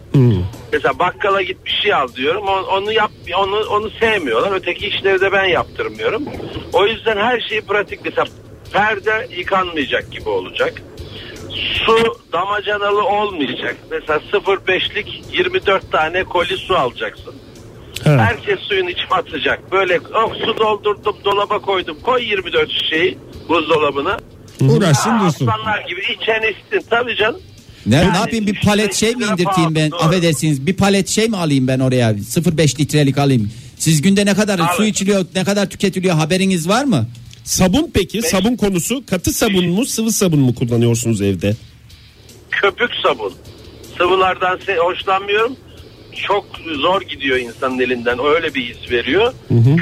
Speaker 9: Mesela bakkala git bir şey al diyorum. On- Onu yap onu onu sevmiyorlar. Öteki işleri de ben yaptırmıyorum. O yüzden her şeyi pratik mesela perde yıkanmayacak gibi olacak. Su damacanalı olmayacak. Mesela 0.5'lik 24 tane koli su alacaksın. Herkes suyun içine atacak. Böyle oh, su doldurdum dolaba koydum. Koy 24 şişeyi buzdolabına.
Speaker 10: Uğraşsın
Speaker 9: Aa,
Speaker 10: dursun.
Speaker 9: Aslanlar gibi içen içsin tabii canım.
Speaker 11: Ne,
Speaker 9: Yani
Speaker 11: ne yapayım bir
Speaker 9: işte
Speaker 11: palet şey mi
Speaker 9: lira
Speaker 11: indirteyim ben?
Speaker 9: pahalı, doğru.
Speaker 11: Affedersiniz bir palet şey mi alayım ben oraya? 0.5 litrelik alayım. Siz günde ne kadar
Speaker 9: Alın.
Speaker 11: su içiliyor, ne kadar tüketiliyor haberiniz var mı?
Speaker 3: Sabun peki sabun konusu katı sabun mu sıvı sabun mu kullanıyorsunuz evde?
Speaker 9: köpük sabun. Sıvılardan se- hoşlanmıyorum. Çok zor gidiyor insanın elinden. Öyle bir his veriyor.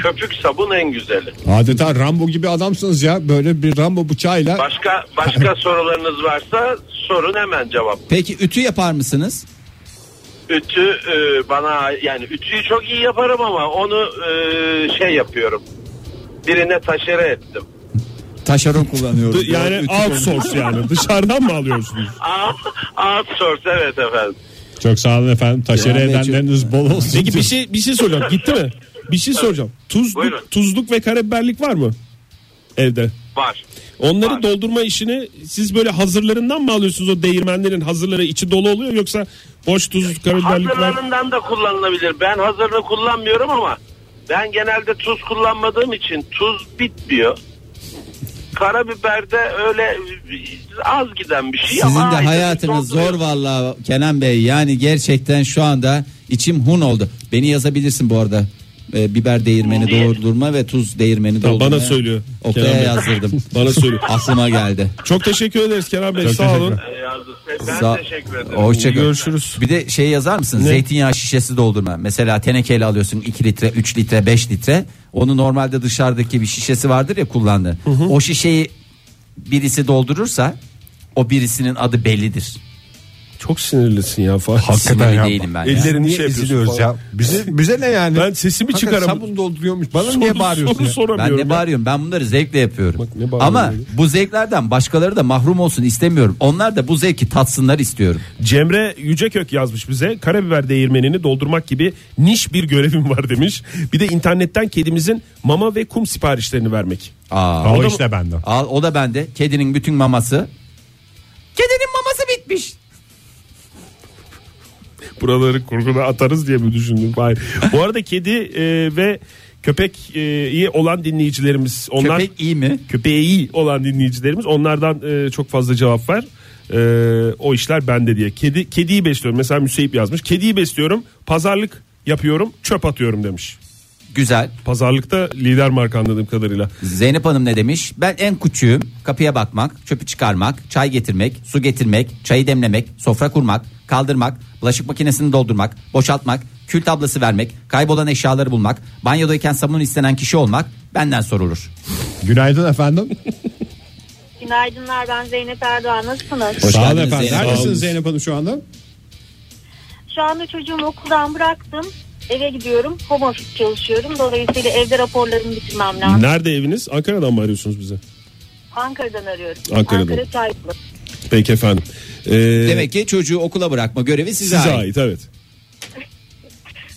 Speaker 9: Köpük sabun en güzeli.
Speaker 2: Adeta Rambo gibi adamsınız ya. Böyle bir Rambo bıçağıyla
Speaker 9: Başka başka sorularınız varsa sorun hemen cevap.
Speaker 11: Peki ütü yapar mısınız?
Speaker 9: Ütü e, bana yani ütüyü çok iyi yaparım ama onu e, şey yapıyorum. Birine taşere ettim.
Speaker 3: (laughs)
Speaker 11: Taşeron kullanıyorum.
Speaker 3: Yani outsource yani dışarıdan mı alıyorsunuz?
Speaker 9: Aa, outsource evet efendim.
Speaker 2: Çok sağ olun efendim. Taşere
Speaker 11: Yani
Speaker 2: edenleriniz bol olsun.
Speaker 3: Peki bir şey bir şey soracağım gitti mi? Bir şey soracağım.
Speaker 9: Buyurun.
Speaker 3: Tuzluk, tuzluk ve karabiberlik var mı evde?
Speaker 9: Var.
Speaker 3: Onları
Speaker 9: Var.
Speaker 3: doldurma işini siz böyle hazırlarından mı alıyorsunuz o değirmenlerin hazırları içi dolu oluyor yoksa boş tuzluk karabiberlik var?
Speaker 9: Hazırlarından da kullanılabilir. Ben hazırını kullanmıyorum ama ben genelde tuz kullanmadığım için tuz bitmiyor. Karabiber de öyle az giden bir şey ama
Speaker 11: Sizin de
Speaker 9: aynı
Speaker 11: hayatınız
Speaker 9: donduruyor.
Speaker 11: zor vallahi Kenan Bey. Yani gerçekten şu anda içim hun oldu. Beni yazabilirsin bu arada. Ee, biber değirmeni
Speaker 9: Niye?
Speaker 11: doldurma ve tuz değirmeni
Speaker 3: bana
Speaker 11: doldurma.
Speaker 3: söylüyor
Speaker 11: Oktay'a
Speaker 3: Kenan Bey.
Speaker 11: yazdırdım.
Speaker 3: Bana söyle.
Speaker 11: (laughs) Aklıma geldi.
Speaker 3: Çok teşekkür ederiz Kenan Bey
Speaker 2: Çok
Speaker 3: sağ olun.
Speaker 2: teşekkürler.
Speaker 9: Ee, yazdı. Ben
Speaker 4: Sağ-
Speaker 9: teşekkür ederim.
Speaker 4: Hoşça kal.
Speaker 3: Ee, Görüşürüz.
Speaker 4: Bir de şey yazar mısın? Zeytinyağı şişesi doldurma. Mesela tenekeyle alıyorsun 2 litre, 3 litre, 5 litre. Onu normalde dışarıdaki bir şişesi vardır ya kullandığı. O şişeyi birisi doldurursa o birisinin adı bellidir.
Speaker 3: Çok sinirlisin ya Fahri.
Speaker 4: Hakikaten
Speaker 2: ya.
Speaker 4: değilim ben. ya.
Speaker 3: Elleri-
Speaker 2: Niye
Speaker 3: Niye şey yapıyorsun
Speaker 2: eziliyoruz
Speaker 3: falan?
Speaker 2: ya? Bize, bize ne yani?
Speaker 3: Ben sesimi
Speaker 2: Hakikaten Sabun
Speaker 3: çıkaramıyorum.
Speaker 2: dolduruyormuş. Bana niye
Speaker 3: Soru-
Speaker 2: bağırıyorsun
Speaker 3: soru
Speaker 2: ya?
Speaker 3: soramıyorum
Speaker 4: Ben ne
Speaker 3: ya.
Speaker 4: bağırıyorum? Ben bunları zevkle yapıyorum.
Speaker 3: Bak ne bağırıyorum
Speaker 4: Ama
Speaker 3: öyle.
Speaker 4: bu zevklerden başkaları da mahrum olsun istemiyorum. Onlar da bu zevki tatsınlar istiyorum.
Speaker 3: Cemre Yücekök yazmış bize. Karabiber değirmenini doldurmak gibi niş bir görevim var demiş. Bir de internetten kedimizin mama ve kum siparişlerini vermek.
Speaker 4: Aa.
Speaker 2: O
Speaker 3: da-
Speaker 2: işte bende.
Speaker 4: Al o da bende. Kedinin bütün maması. Kedinin maması bitmiş.
Speaker 3: Buraları kurguna atarız diye mi düşündün? Hayır. Bu arada kedi e, ve köpek e, iyi olan dinleyicilerimiz onlar
Speaker 4: Köpek iyi mi?
Speaker 3: köpeği iyi olan dinleyicilerimiz onlardan e, çok fazla cevap var. E, o işler bende diye. Kedi kediyi besliyorum. Mesela Müseyip yazmış. Kediyi besliyorum. Pazarlık yapıyorum. Çöp atıyorum demiş.
Speaker 4: Güzel.
Speaker 3: Pazarlıkta lider marka anladığım kadarıyla.
Speaker 4: Zeynep Hanım ne demiş? Ben en küçüğüm. Kapıya bakmak, çöpü çıkarmak, çay getirmek, su getirmek, çayı demlemek, sofra kurmak, kaldırmak, bulaşık makinesini doldurmak, boşaltmak, kül tablası vermek, kaybolan eşyaları bulmak, banyodayken sabun istenen kişi olmak benden sorulur.
Speaker 2: Günaydın efendim.
Speaker 12: Günaydınlar ben Zeynep Erdoğan nasılsınız?
Speaker 2: sağ olun
Speaker 11: geldiniz
Speaker 2: efendim.
Speaker 11: Zeynep
Speaker 2: Neredesiniz
Speaker 11: Hanım.
Speaker 2: Zeynep Hanım şu anda?
Speaker 12: Şu anda çocuğumu okuldan bıraktım eve gidiyorum home office çalışıyorum dolayısıyla evde raporlarımı bitirmem lazım.
Speaker 3: Nerede eviniz? Ankara'dan mı arıyorsunuz bize?
Speaker 12: Ankara'dan arıyorum.
Speaker 3: Ankara'dan.
Speaker 12: Ankara Çaylı.
Speaker 3: Peki efendim. E,
Speaker 11: Demek ki çocuğu okula bırakma görevi size,
Speaker 3: size
Speaker 11: ait.
Speaker 3: ait evet.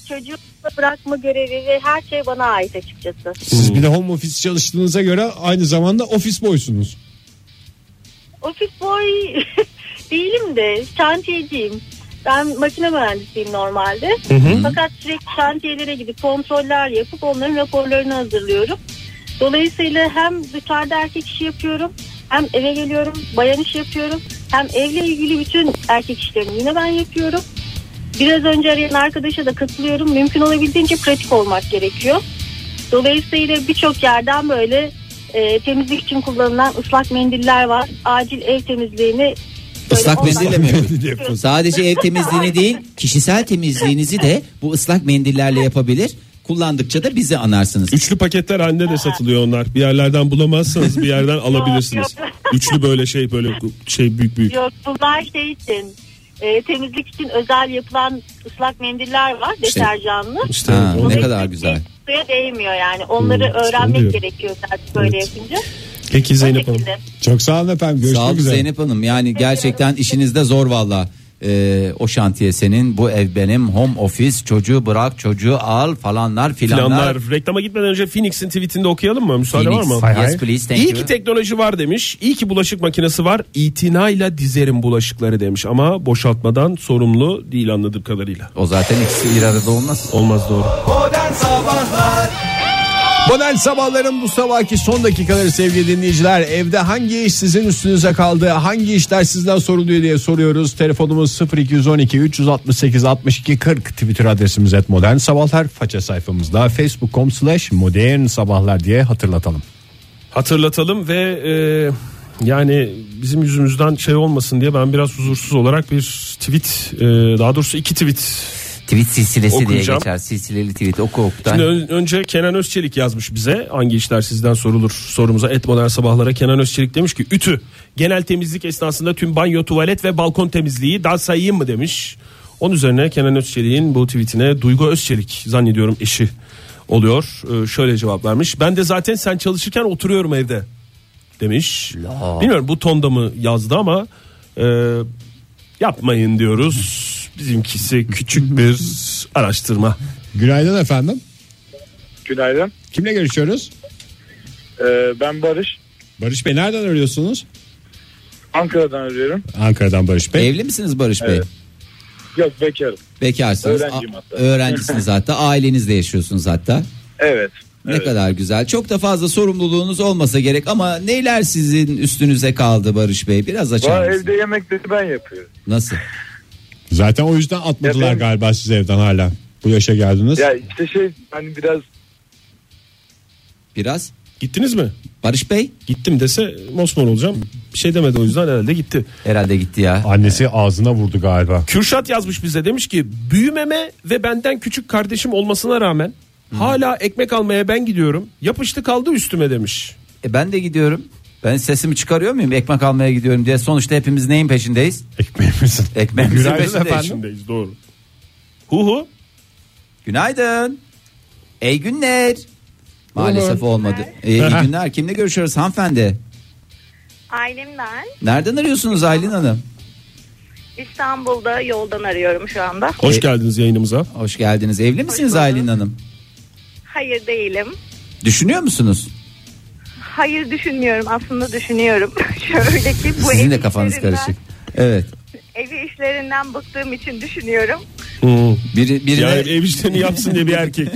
Speaker 12: Çocuğumu bırakma görevi ve her şey bana ait açıkçası.
Speaker 2: Siz bir de home office çalıştığınıza göre aynı zamanda ofis boysunuz.
Speaker 12: Ofis boy (laughs) değilim de şantiyeciyim. Ben makine mühendisiyim normalde. Fakat sürekli şantiyelere gidip kontroller yapıp onların raporlarını hazırlıyorum. Dolayısıyla hem dışarıda erkek işi yapıyorum hem eve geliyorum bayan işi yapıyorum. Hem evle ilgili bütün erkek işlerini yine ben yapıyorum. Biraz önce arayan arkadaşa da katılıyorum. Mümkün olabildiğince pratik olmak gerekiyor. Dolayısıyla birçok yerden böyle e, temizlik için kullanılan ıslak mendiller var. Acil ev temizliğini böyle
Speaker 11: Islak
Speaker 12: online-
Speaker 11: mendille mi? Sadece ev temizliğini değil, kişisel temizliğinizi de bu ıslak mendillerle yapabilir. Kullandıkça da bizi anarsınız.
Speaker 3: Üçlü paketler halinde de satılıyor onlar. Bir yerlerden bulamazsanız bir yerden alabilirsiniz.
Speaker 12: Yok,
Speaker 3: Üçlü böyle şey böyle şey büyük büyük.
Speaker 12: Yok bunlar şey için e, temizlik için özel yapılan ıslak mendiller var
Speaker 11: Şey,
Speaker 12: deterjanlı.
Speaker 3: İşte
Speaker 11: Ha,
Speaker 3: o-
Speaker 11: ne kadar güzel.
Speaker 12: Suya değmiyor yani. Onları
Speaker 3: Hmm,
Speaker 12: öğrenmek
Speaker 3: sanıyorum.
Speaker 12: gerekiyor zaten böyle yapınca.
Speaker 3: Peki
Speaker 12: O
Speaker 3: Zeynep Hanım.
Speaker 12: şekilde.
Speaker 2: Çok sağ olun efendim. Görüşmek
Speaker 11: Sağ olun
Speaker 2: üzere.
Speaker 11: Zeynep Hanım. Yani gerçekten işiniz de zor valla.
Speaker 4: Ee, o şantiye senin bu ev benim home office çocuğu bırak çocuğu al falanlar filanlar.
Speaker 3: Planlar. Reklama gitmeden önce Phoenix'in tweetinde okuyalım mı? Müsaade var mı?
Speaker 4: Phoenix, Yes please thank
Speaker 3: İyi
Speaker 4: you.
Speaker 3: ki teknoloji var demiş. İyi ki bulaşık makinesi var. İtinayla dizerim bulaşıkları demiş. Ama boşaltmadan sorumlu değil anladığım kadarıyla.
Speaker 4: O zaten ikisi bir arada olmaz.
Speaker 3: Olmaz doğru.
Speaker 2: Modern sabahların bu sabahki son dakikaları sevgili dinleyiciler. Evde hangi iş sizin üstünüze kaldı? Hangi işler sizden soruluyor diye soruyoruz. Telefonumuz 0212 368 62 40 Twitter adresimiz et modern sabahlar. Faça sayfamızda facebook.com slash modern sabahlar diye hatırlatalım.
Speaker 3: Hatırlatalım ve e, yani bizim yüzümüzden şey olmasın diye ben biraz huzursuz olarak bir tweet e, daha doğrusu iki tweet
Speaker 4: Tweet silsilesi diye
Speaker 3: Okuyacağım.
Speaker 4: geçer. Silsileli tweet oku oktan.
Speaker 3: Şimdi ön- önce Kenan Özçelik yazmış bize hangi işler sizden sorulur sorumuza et modern sabahlara Kenan Özçelik demiş ki ütü genel temizlik esnasında tüm banyo tuvalet ve balkon temizliği daha sayayım mı demiş. Onun üzerine Kenan Özçelik'in bu tweetine Duygu Özçelik zannediyorum eşi oluyor Ee, şöyle cevap vermiş ben de zaten sen çalışırken oturuyorum evde demiş. Bilmiyorum bu tonda mı yazdı ama e, yapmayın diyoruz. Bizimkisi küçük bir araştırma.
Speaker 2: Günaydın efendim.
Speaker 13: Günaydın.
Speaker 2: Kimle görüşüyoruz?
Speaker 13: Ee, ben Barış.
Speaker 2: Barış Bey nereden arıyorsunuz?
Speaker 13: Ankara'dan arıyorum.
Speaker 2: Ankara'dan Barış
Speaker 13: E-
Speaker 2: Bey.
Speaker 14: Evli misiniz Barış Bey?
Speaker 13: Evet. Yok bekarım.
Speaker 14: Bekarsınız.
Speaker 13: Öğrenciyim
Speaker 14: A-
Speaker 13: hatta.
Speaker 14: Öğrencisiniz hatta. Ailenizle yaşıyorsunuz hatta.
Speaker 13: Evet.
Speaker 14: Ne kadar güzel. Çok da fazla sorumluluğunuz olmasa gerek ama neyler sizin üstünüze kaldı Barış Bey? Biraz
Speaker 13: Bana
Speaker 14: açar mısınız?
Speaker 13: evde yemekleri ben yapıyorum.
Speaker 14: Nasıl?
Speaker 2: Zaten o yüzden atmadılar
Speaker 13: Ya ben-
Speaker 2: galiba siz evden hala. Bu yaşa geldiniz.
Speaker 13: Ya işte şey hani biraz
Speaker 14: Biraz.
Speaker 3: Gittiniz mi?
Speaker 14: Barış Bey
Speaker 3: Gittim dese mosmor olacağım. Bir şey demedi o yüzden herhalde gitti.
Speaker 4: Herhalde gitti ya.
Speaker 2: Annesi ağzına vurdu galiba.
Speaker 3: Kürşat yazmış bize demiş ki büyümeme ve benden küçük kardeşim olmasına rağmen hala ekmek almaya ben gidiyorum. Yapıştı kaldı üstüme demiş.
Speaker 4: E ben de gidiyorum. Ben sesimi çıkarıyor muyum? Ekmek almaya gidiyorum diye. Sonuçta hepimiz neyin peşindeyiz?
Speaker 2: Ekmeğimizin.
Speaker 4: Ekmeğimizin
Speaker 2: Günaydın
Speaker 4: peşindeyiz.
Speaker 2: efendim.
Speaker 3: Şimdiyiz doğru. Hu hu.
Speaker 4: Günaydın. İyi günler. Maalesef olmadı. E,
Speaker 2: (laughs)
Speaker 4: iyi günler. Kimle görüşüyoruz hanımefendi?
Speaker 15: Ailemden
Speaker 4: Nereden arıyorsunuz Aylin Hanım?
Speaker 15: İstanbul'da yoldan arıyorum şu anda.
Speaker 3: Hoş
Speaker 4: E-
Speaker 3: geldiniz yayınımıza.
Speaker 4: Hoş geldiniz. Evli misiniz
Speaker 15: bulduk.
Speaker 4: Aylin Hanım?
Speaker 15: Hayır değilim.
Speaker 4: Düşünüyor musunuz?
Speaker 15: Hayır düşünmüyorum aslında düşünüyorum. (laughs) Şöyle ki bu
Speaker 4: Sizin
Speaker 15: ev
Speaker 4: de kafanız
Speaker 15: işlerinden-
Speaker 4: karışık. Evet.
Speaker 15: Evi işlerinden bıktığım için düşünüyorum.
Speaker 4: Biri, birine
Speaker 3: Yani ev işlerini yapsın diye bir erkek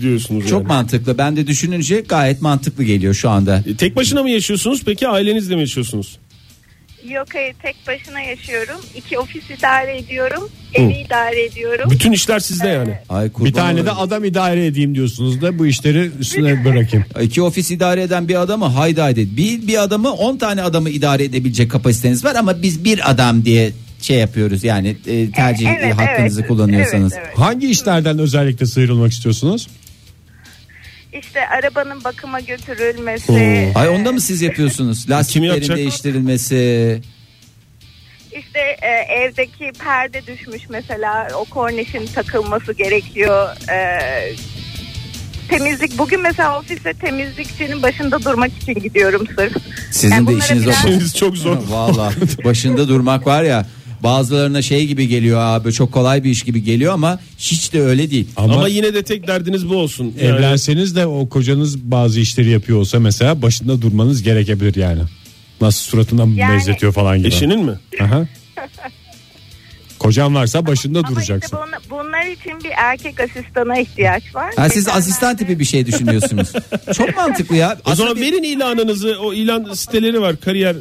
Speaker 3: (laughs) diyorsunuz.
Speaker 4: çok
Speaker 3: yani.
Speaker 4: mantıklı. Ben de düşününce gayet mantıklı geliyor şu anda.
Speaker 3: E, Tek başına mı yaşıyorsunuz peki ailenizle mi yaşıyorsunuz?
Speaker 15: Yok hayır tek başına yaşıyorum. İki ofis idare ediyorum. Evi idare ediyorum.
Speaker 3: Bütün işler sizde yani.
Speaker 4: Ay kurban
Speaker 2: Bir tane de
Speaker 4: olayım.
Speaker 2: adam idare edeyim diyorsunuz da bu işleri üstüne bırakayım.
Speaker 4: İki ofis idare eden bir adamı haydi haydi. Bir, bir adamı 10 tane adamı idare edebilecek kapasiteniz var ama biz bir adam diye şey yapıyoruz yani e, tercih
Speaker 15: Evet,
Speaker 4: e, hakkınızı
Speaker 15: evet.
Speaker 4: kullanıyorsanız.
Speaker 15: Evet, evet.
Speaker 2: Hangi işlerden özellikle sıyrılmak istiyorsunuz?
Speaker 15: İşte arabanın bakıma götürülmesi.
Speaker 4: Ay onda mı siz yapıyorsunuz? Lastiklerin
Speaker 3: E, yapacak?
Speaker 4: değiştirilmesi.
Speaker 15: İşte e, evdeki perde düşmüş mesela o kornişin takılması gerekiyor. E, temizlik bugün mesela ofiste temizlikçinin başında durmak için gidiyorum sırf.
Speaker 4: Sizin
Speaker 15: Yani
Speaker 4: de
Speaker 15: bunlara
Speaker 4: işiniz o.
Speaker 15: biraz-
Speaker 3: İşiniz (laughs) çok Şey zor.
Speaker 4: (laughs) Valla başında durmak var ya bazılarına şey gibi geliyor abi çok kolay bir iş gibi geliyor ama hiç de öyle değil.
Speaker 2: Ama,
Speaker 3: Ama yine de tek derdiniz bu olsun. Yani
Speaker 2: evlenseniz de o kocanız bazı işleri yapıyor olsa mesela başında durmanız gerekebilir yani. Nasıl suratından
Speaker 15: Yani-
Speaker 2: benzetiyor falan gibi.
Speaker 3: Eşinin mi?
Speaker 2: Aha. Kocam varsa başında
Speaker 15: Ama işte
Speaker 2: duracaksın.
Speaker 15: bun- bunlar için bir erkek asistana ihtiyaç var.
Speaker 4: Ha, siz
Speaker 15: Geçenlerde-
Speaker 4: asistan tipi bir şey düşünüyorsunuz. Çok mantıklı ya.
Speaker 3: O
Speaker 4: Aslında
Speaker 3: zaman
Speaker 4: bir-
Speaker 3: verin ilanınızı. O ilan siteleri var. Kariyer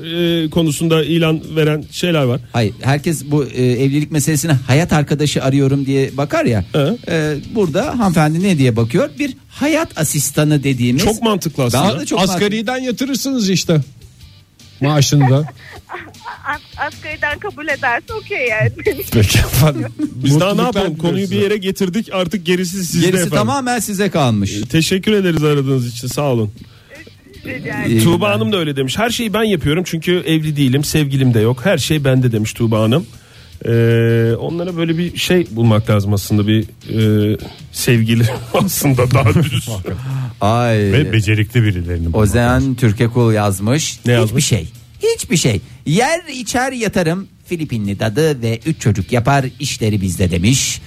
Speaker 3: e, konusunda ilan veren şeyler var.
Speaker 4: Hayır herkes bu e, evlilik meselesine hayat arkadaşı arıyorum diye bakar ya.
Speaker 3: Hı.
Speaker 4: E, burada hanımefendi ne diye bakıyor? Bir hayat asistanı dediğimiz.
Speaker 3: Çok mantıklı aslında.
Speaker 4: Daha da çok mantıklı.
Speaker 2: Asgariden yatırırsınız işte. Maaşını da.
Speaker 15: As- asgariden kabul ederse okey yani.
Speaker 2: Peki efendim.
Speaker 3: Biz daha ne
Speaker 2: Mutluluklar
Speaker 3: yapalım?
Speaker 2: diliyorum
Speaker 3: Konuyu
Speaker 2: size.
Speaker 3: bir yere getirdik. Artık gerisi sizde
Speaker 4: Gerisi
Speaker 3: efendim.
Speaker 4: tamamen size kalmış.
Speaker 3: Teşekkür ederiz aradığınız için. Sağ olun.
Speaker 15: Rica
Speaker 4: İyi
Speaker 15: ederim.
Speaker 3: Tuğba Hanım da öyle demiş. Her şeyi ben yapıyorum çünkü evli değilim, sevgilim de yok. Her şey bende demiş Tuğba Hanım. Ee, onlara böyle bir şey bulmak lazım aslında bir e, sevgili (laughs) aslında daha düz.
Speaker 4: Ay.
Speaker 2: Ve becerikli birilerini. bulmak lazım.
Speaker 4: Ozen Türkekul yazmış.
Speaker 3: Ne yazmış?
Speaker 4: Hiçbir şey. Hiçbir şey. Yer içer yatarım. Filipinli dadı ve 3 çocuk yapar işleri bizde demiş.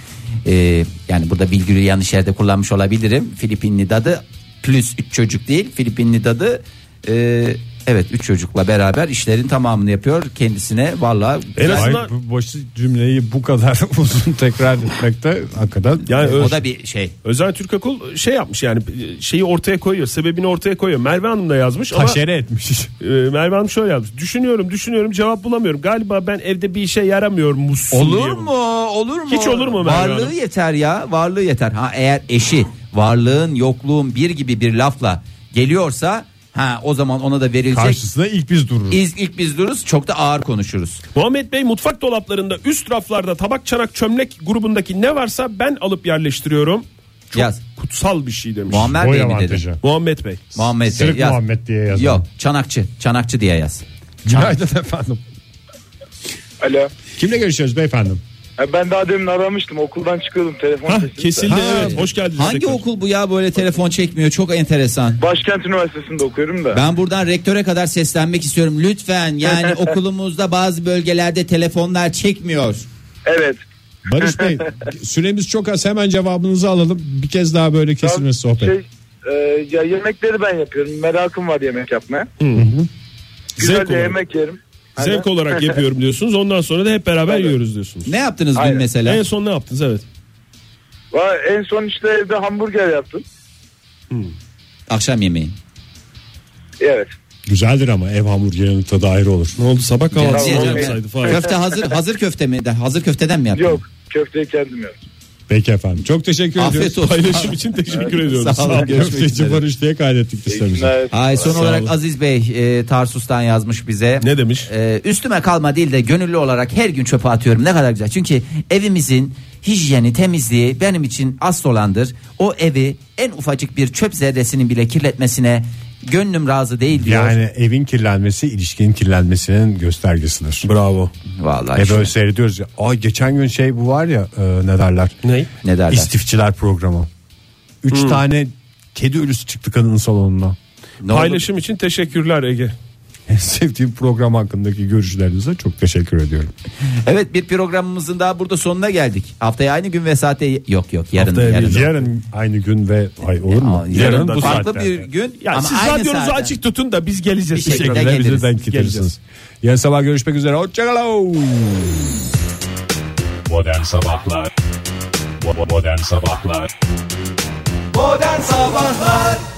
Speaker 4: Ee, yani burada bilgiyi yanlış yerde kullanmış olabilirim. Filipinli dadı plus 3 çocuk değil. Filipinli dadı e, evet 3 çocukla beraber işlerin tamamını yapıyor. Kendisine valla
Speaker 3: En azından
Speaker 2: Ay, bu basit cümleyi bu kadar (laughs) uzun tekrar etmekte hakikaten.
Speaker 3: yani
Speaker 4: o
Speaker 3: öz-
Speaker 4: da bir şey.
Speaker 3: Özen Türkakul şey yapmış yani şeyi ortaya koyuyor. Sebebini ortaya koyuyor. Merve Hanım da yazmış ama
Speaker 2: Taşere etmiş.
Speaker 3: e, Merve Hanım şöyle yazmış. Düşünüyorum, düşünüyorum cevap bulamıyorum. Galiba ben evde bir işe yaramıyorum musun
Speaker 4: Olur
Speaker 3: diye
Speaker 4: mu?
Speaker 3: bu.
Speaker 4: Olur mu?
Speaker 3: Hiç olur mu Merve
Speaker 4: Varlığı
Speaker 3: Hanım?
Speaker 4: yeter ya. Varlığı yeter. Ha eğer eşi varlığın yokluğun bir gibi bir lafla geliyorsa ha o zaman ona da verilecek.
Speaker 2: Karşısında ilk biz dururuz.
Speaker 4: İz, ilk biz dururuz çok da ağır konuşuruz.
Speaker 3: Muhammed Bey mutfak dolaplarında üst raflarda tabak çanak çömlek grubundaki ne varsa ben alıp yerleştiriyorum. Çok
Speaker 4: Yaz.
Speaker 3: kutsal bir şey demiş.
Speaker 4: Muammer
Speaker 2: Boy
Speaker 4: Bey mi dedi?
Speaker 2: avantajı.
Speaker 3: Muhammed Bey.
Speaker 4: Muhammed Bey
Speaker 2: Sırık
Speaker 4: yaz.
Speaker 2: Muhammed diye yazalım.
Speaker 4: Yok çanakçı. Çanakçı diye yaz.
Speaker 2: Günaydın efendim.
Speaker 1: Alo.
Speaker 2: Kimle görüşüyoruz beyefendi?
Speaker 1: Ha, Ben daha demin aramıştım. Okuldan çıkıyordum telefon
Speaker 3: Hah,
Speaker 1: sesini.
Speaker 3: kesildi evet. Hoş geldiniz.
Speaker 4: Hangi
Speaker 3: tekrar.
Speaker 4: okul bu ya böyle telefon çekmiyor çok enteresan.
Speaker 1: Başkent Üniversitesi'nde okuyorum da.
Speaker 4: Ben buradan rektöre kadar seslenmek istiyorum lütfen
Speaker 3: (laughs)
Speaker 4: yani okulumuzda bazı bölgelerde telefonlar çekmiyor.
Speaker 1: Evet.
Speaker 2: Barış Bey süremiz çok az hemen cevabınızı alalım. Bir kez daha böyle kesilmesi
Speaker 1: Tam
Speaker 2: sohbet.
Speaker 1: Şey, e, ya yemekleri ben yapıyorum. Merakım var yemek yapmaya. Güzel
Speaker 3: Zevk
Speaker 1: de
Speaker 3: olarak.
Speaker 1: yemek yerim.
Speaker 3: Zevk
Speaker 1: Aynen.
Speaker 4: (laughs)
Speaker 3: olarak yapıyorum diyorsunuz. Ondan sonra da hep beraber yiyoruz diyorsunuz.
Speaker 4: Ne yaptınız dün
Speaker 1: Aynen.
Speaker 4: mesela?
Speaker 3: En son ne yaptınız evet.
Speaker 1: Va- En son işte evde hamburger yaptım.
Speaker 4: Akşam yemeği.
Speaker 1: Evet.
Speaker 2: Güzeldir ama ev hamburgerinin tadı ayrı olur.
Speaker 3: Ne oldu sabah kahvaltısı
Speaker 4: Canım,
Speaker 1: canım.
Speaker 3: olmasaydı falan.
Speaker 4: Köfte hazır hazır köfte mi? Hazır köfteden mi yaptın?
Speaker 1: Yok köfteyi kendim yaptım.
Speaker 2: Peki efendim. Çok teşekkür
Speaker 4: Afiyet
Speaker 2: ediyoruz.
Speaker 4: olsun.
Speaker 3: Paylaşım için teşekkür ediyoruz.
Speaker 4: Sağ olun. Görüşmek
Speaker 2: Köfteci
Speaker 4: üzere.
Speaker 2: Barış diye kaydettik listemizi.
Speaker 1: Evet.
Speaker 4: Ay, son
Speaker 3: Sağ
Speaker 4: olarak
Speaker 3: olun.
Speaker 4: Aziz Bey e, Tarsus'tan yazmış bize.
Speaker 3: Ne demiş?
Speaker 4: E, üstüme kalma değil de gönüllü olarak her gün çöpe atıyorum. Ne kadar güzel. Çünkü evimizin hijyeni, temizliği benim için asıl olandır. O evi en ufacık bir çöp zerresinin bile kirletmesine gönlüm razı değil diyor.
Speaker 2: Yani evin kirlenmesi ilişkinin kirlenmesinin göstergesidir.
Speaker 3: Bravo.
Speaker 4: Vallahi.
Speaker 2: E
Speaker 4: şu-
Speaker 2: böyle seyrediyoruz ya. Ay geçen gün şey bu var ya e, ne derler?
Speaker 3: Ne?
Speaker 4: Ne derler?
Speaker 2: İstifçiler programı. Üç tane kedi ölüsü çıktı kadının salonuna. (laughs)
Speaker 4: Ne oldu?
Speaker 3: Paylaşım için teşekkürler Ege.
Speaker 2: En sevdiğim program hakkındaki görüşlerinize çok teşekkür ediyorum.
Speaker 4: Evet bir programımızın daha burada sonuna geldik. Haftaya aynı gün ve saatte yok yok yarın. yarın.
Speaker 2: Yarın aynı gün ve ay olur mu?
Speaker 4: Aa, yarın
Speaker 3: da
Speaker 4: bu farklı
Speaker 2: saatlerde.
Speaker 4: bir gün
Speaker 3: Ya
Speaker 4: ama
Speaker 3: siz
Speaker 4: aynı
Speaker 3: radyonuzu
Speaker 4: saatte.
Speaker 3: açık tutun da biz geleceğiz.
Speaker 4: Bir
Speaker 3: Bir
Speaker 4: şekilde
Speaker 3: şekilde.
Speaker 2: Bize
Speaker 4: geliriz.
Speaker 2: denk getirirsiniz. Yarın sabah görüşmek üzere. Hoşçakalın.
Speaker 16: Modern Sabahlar Modern Sabahlar
Speaker 4: Modern Sabahlar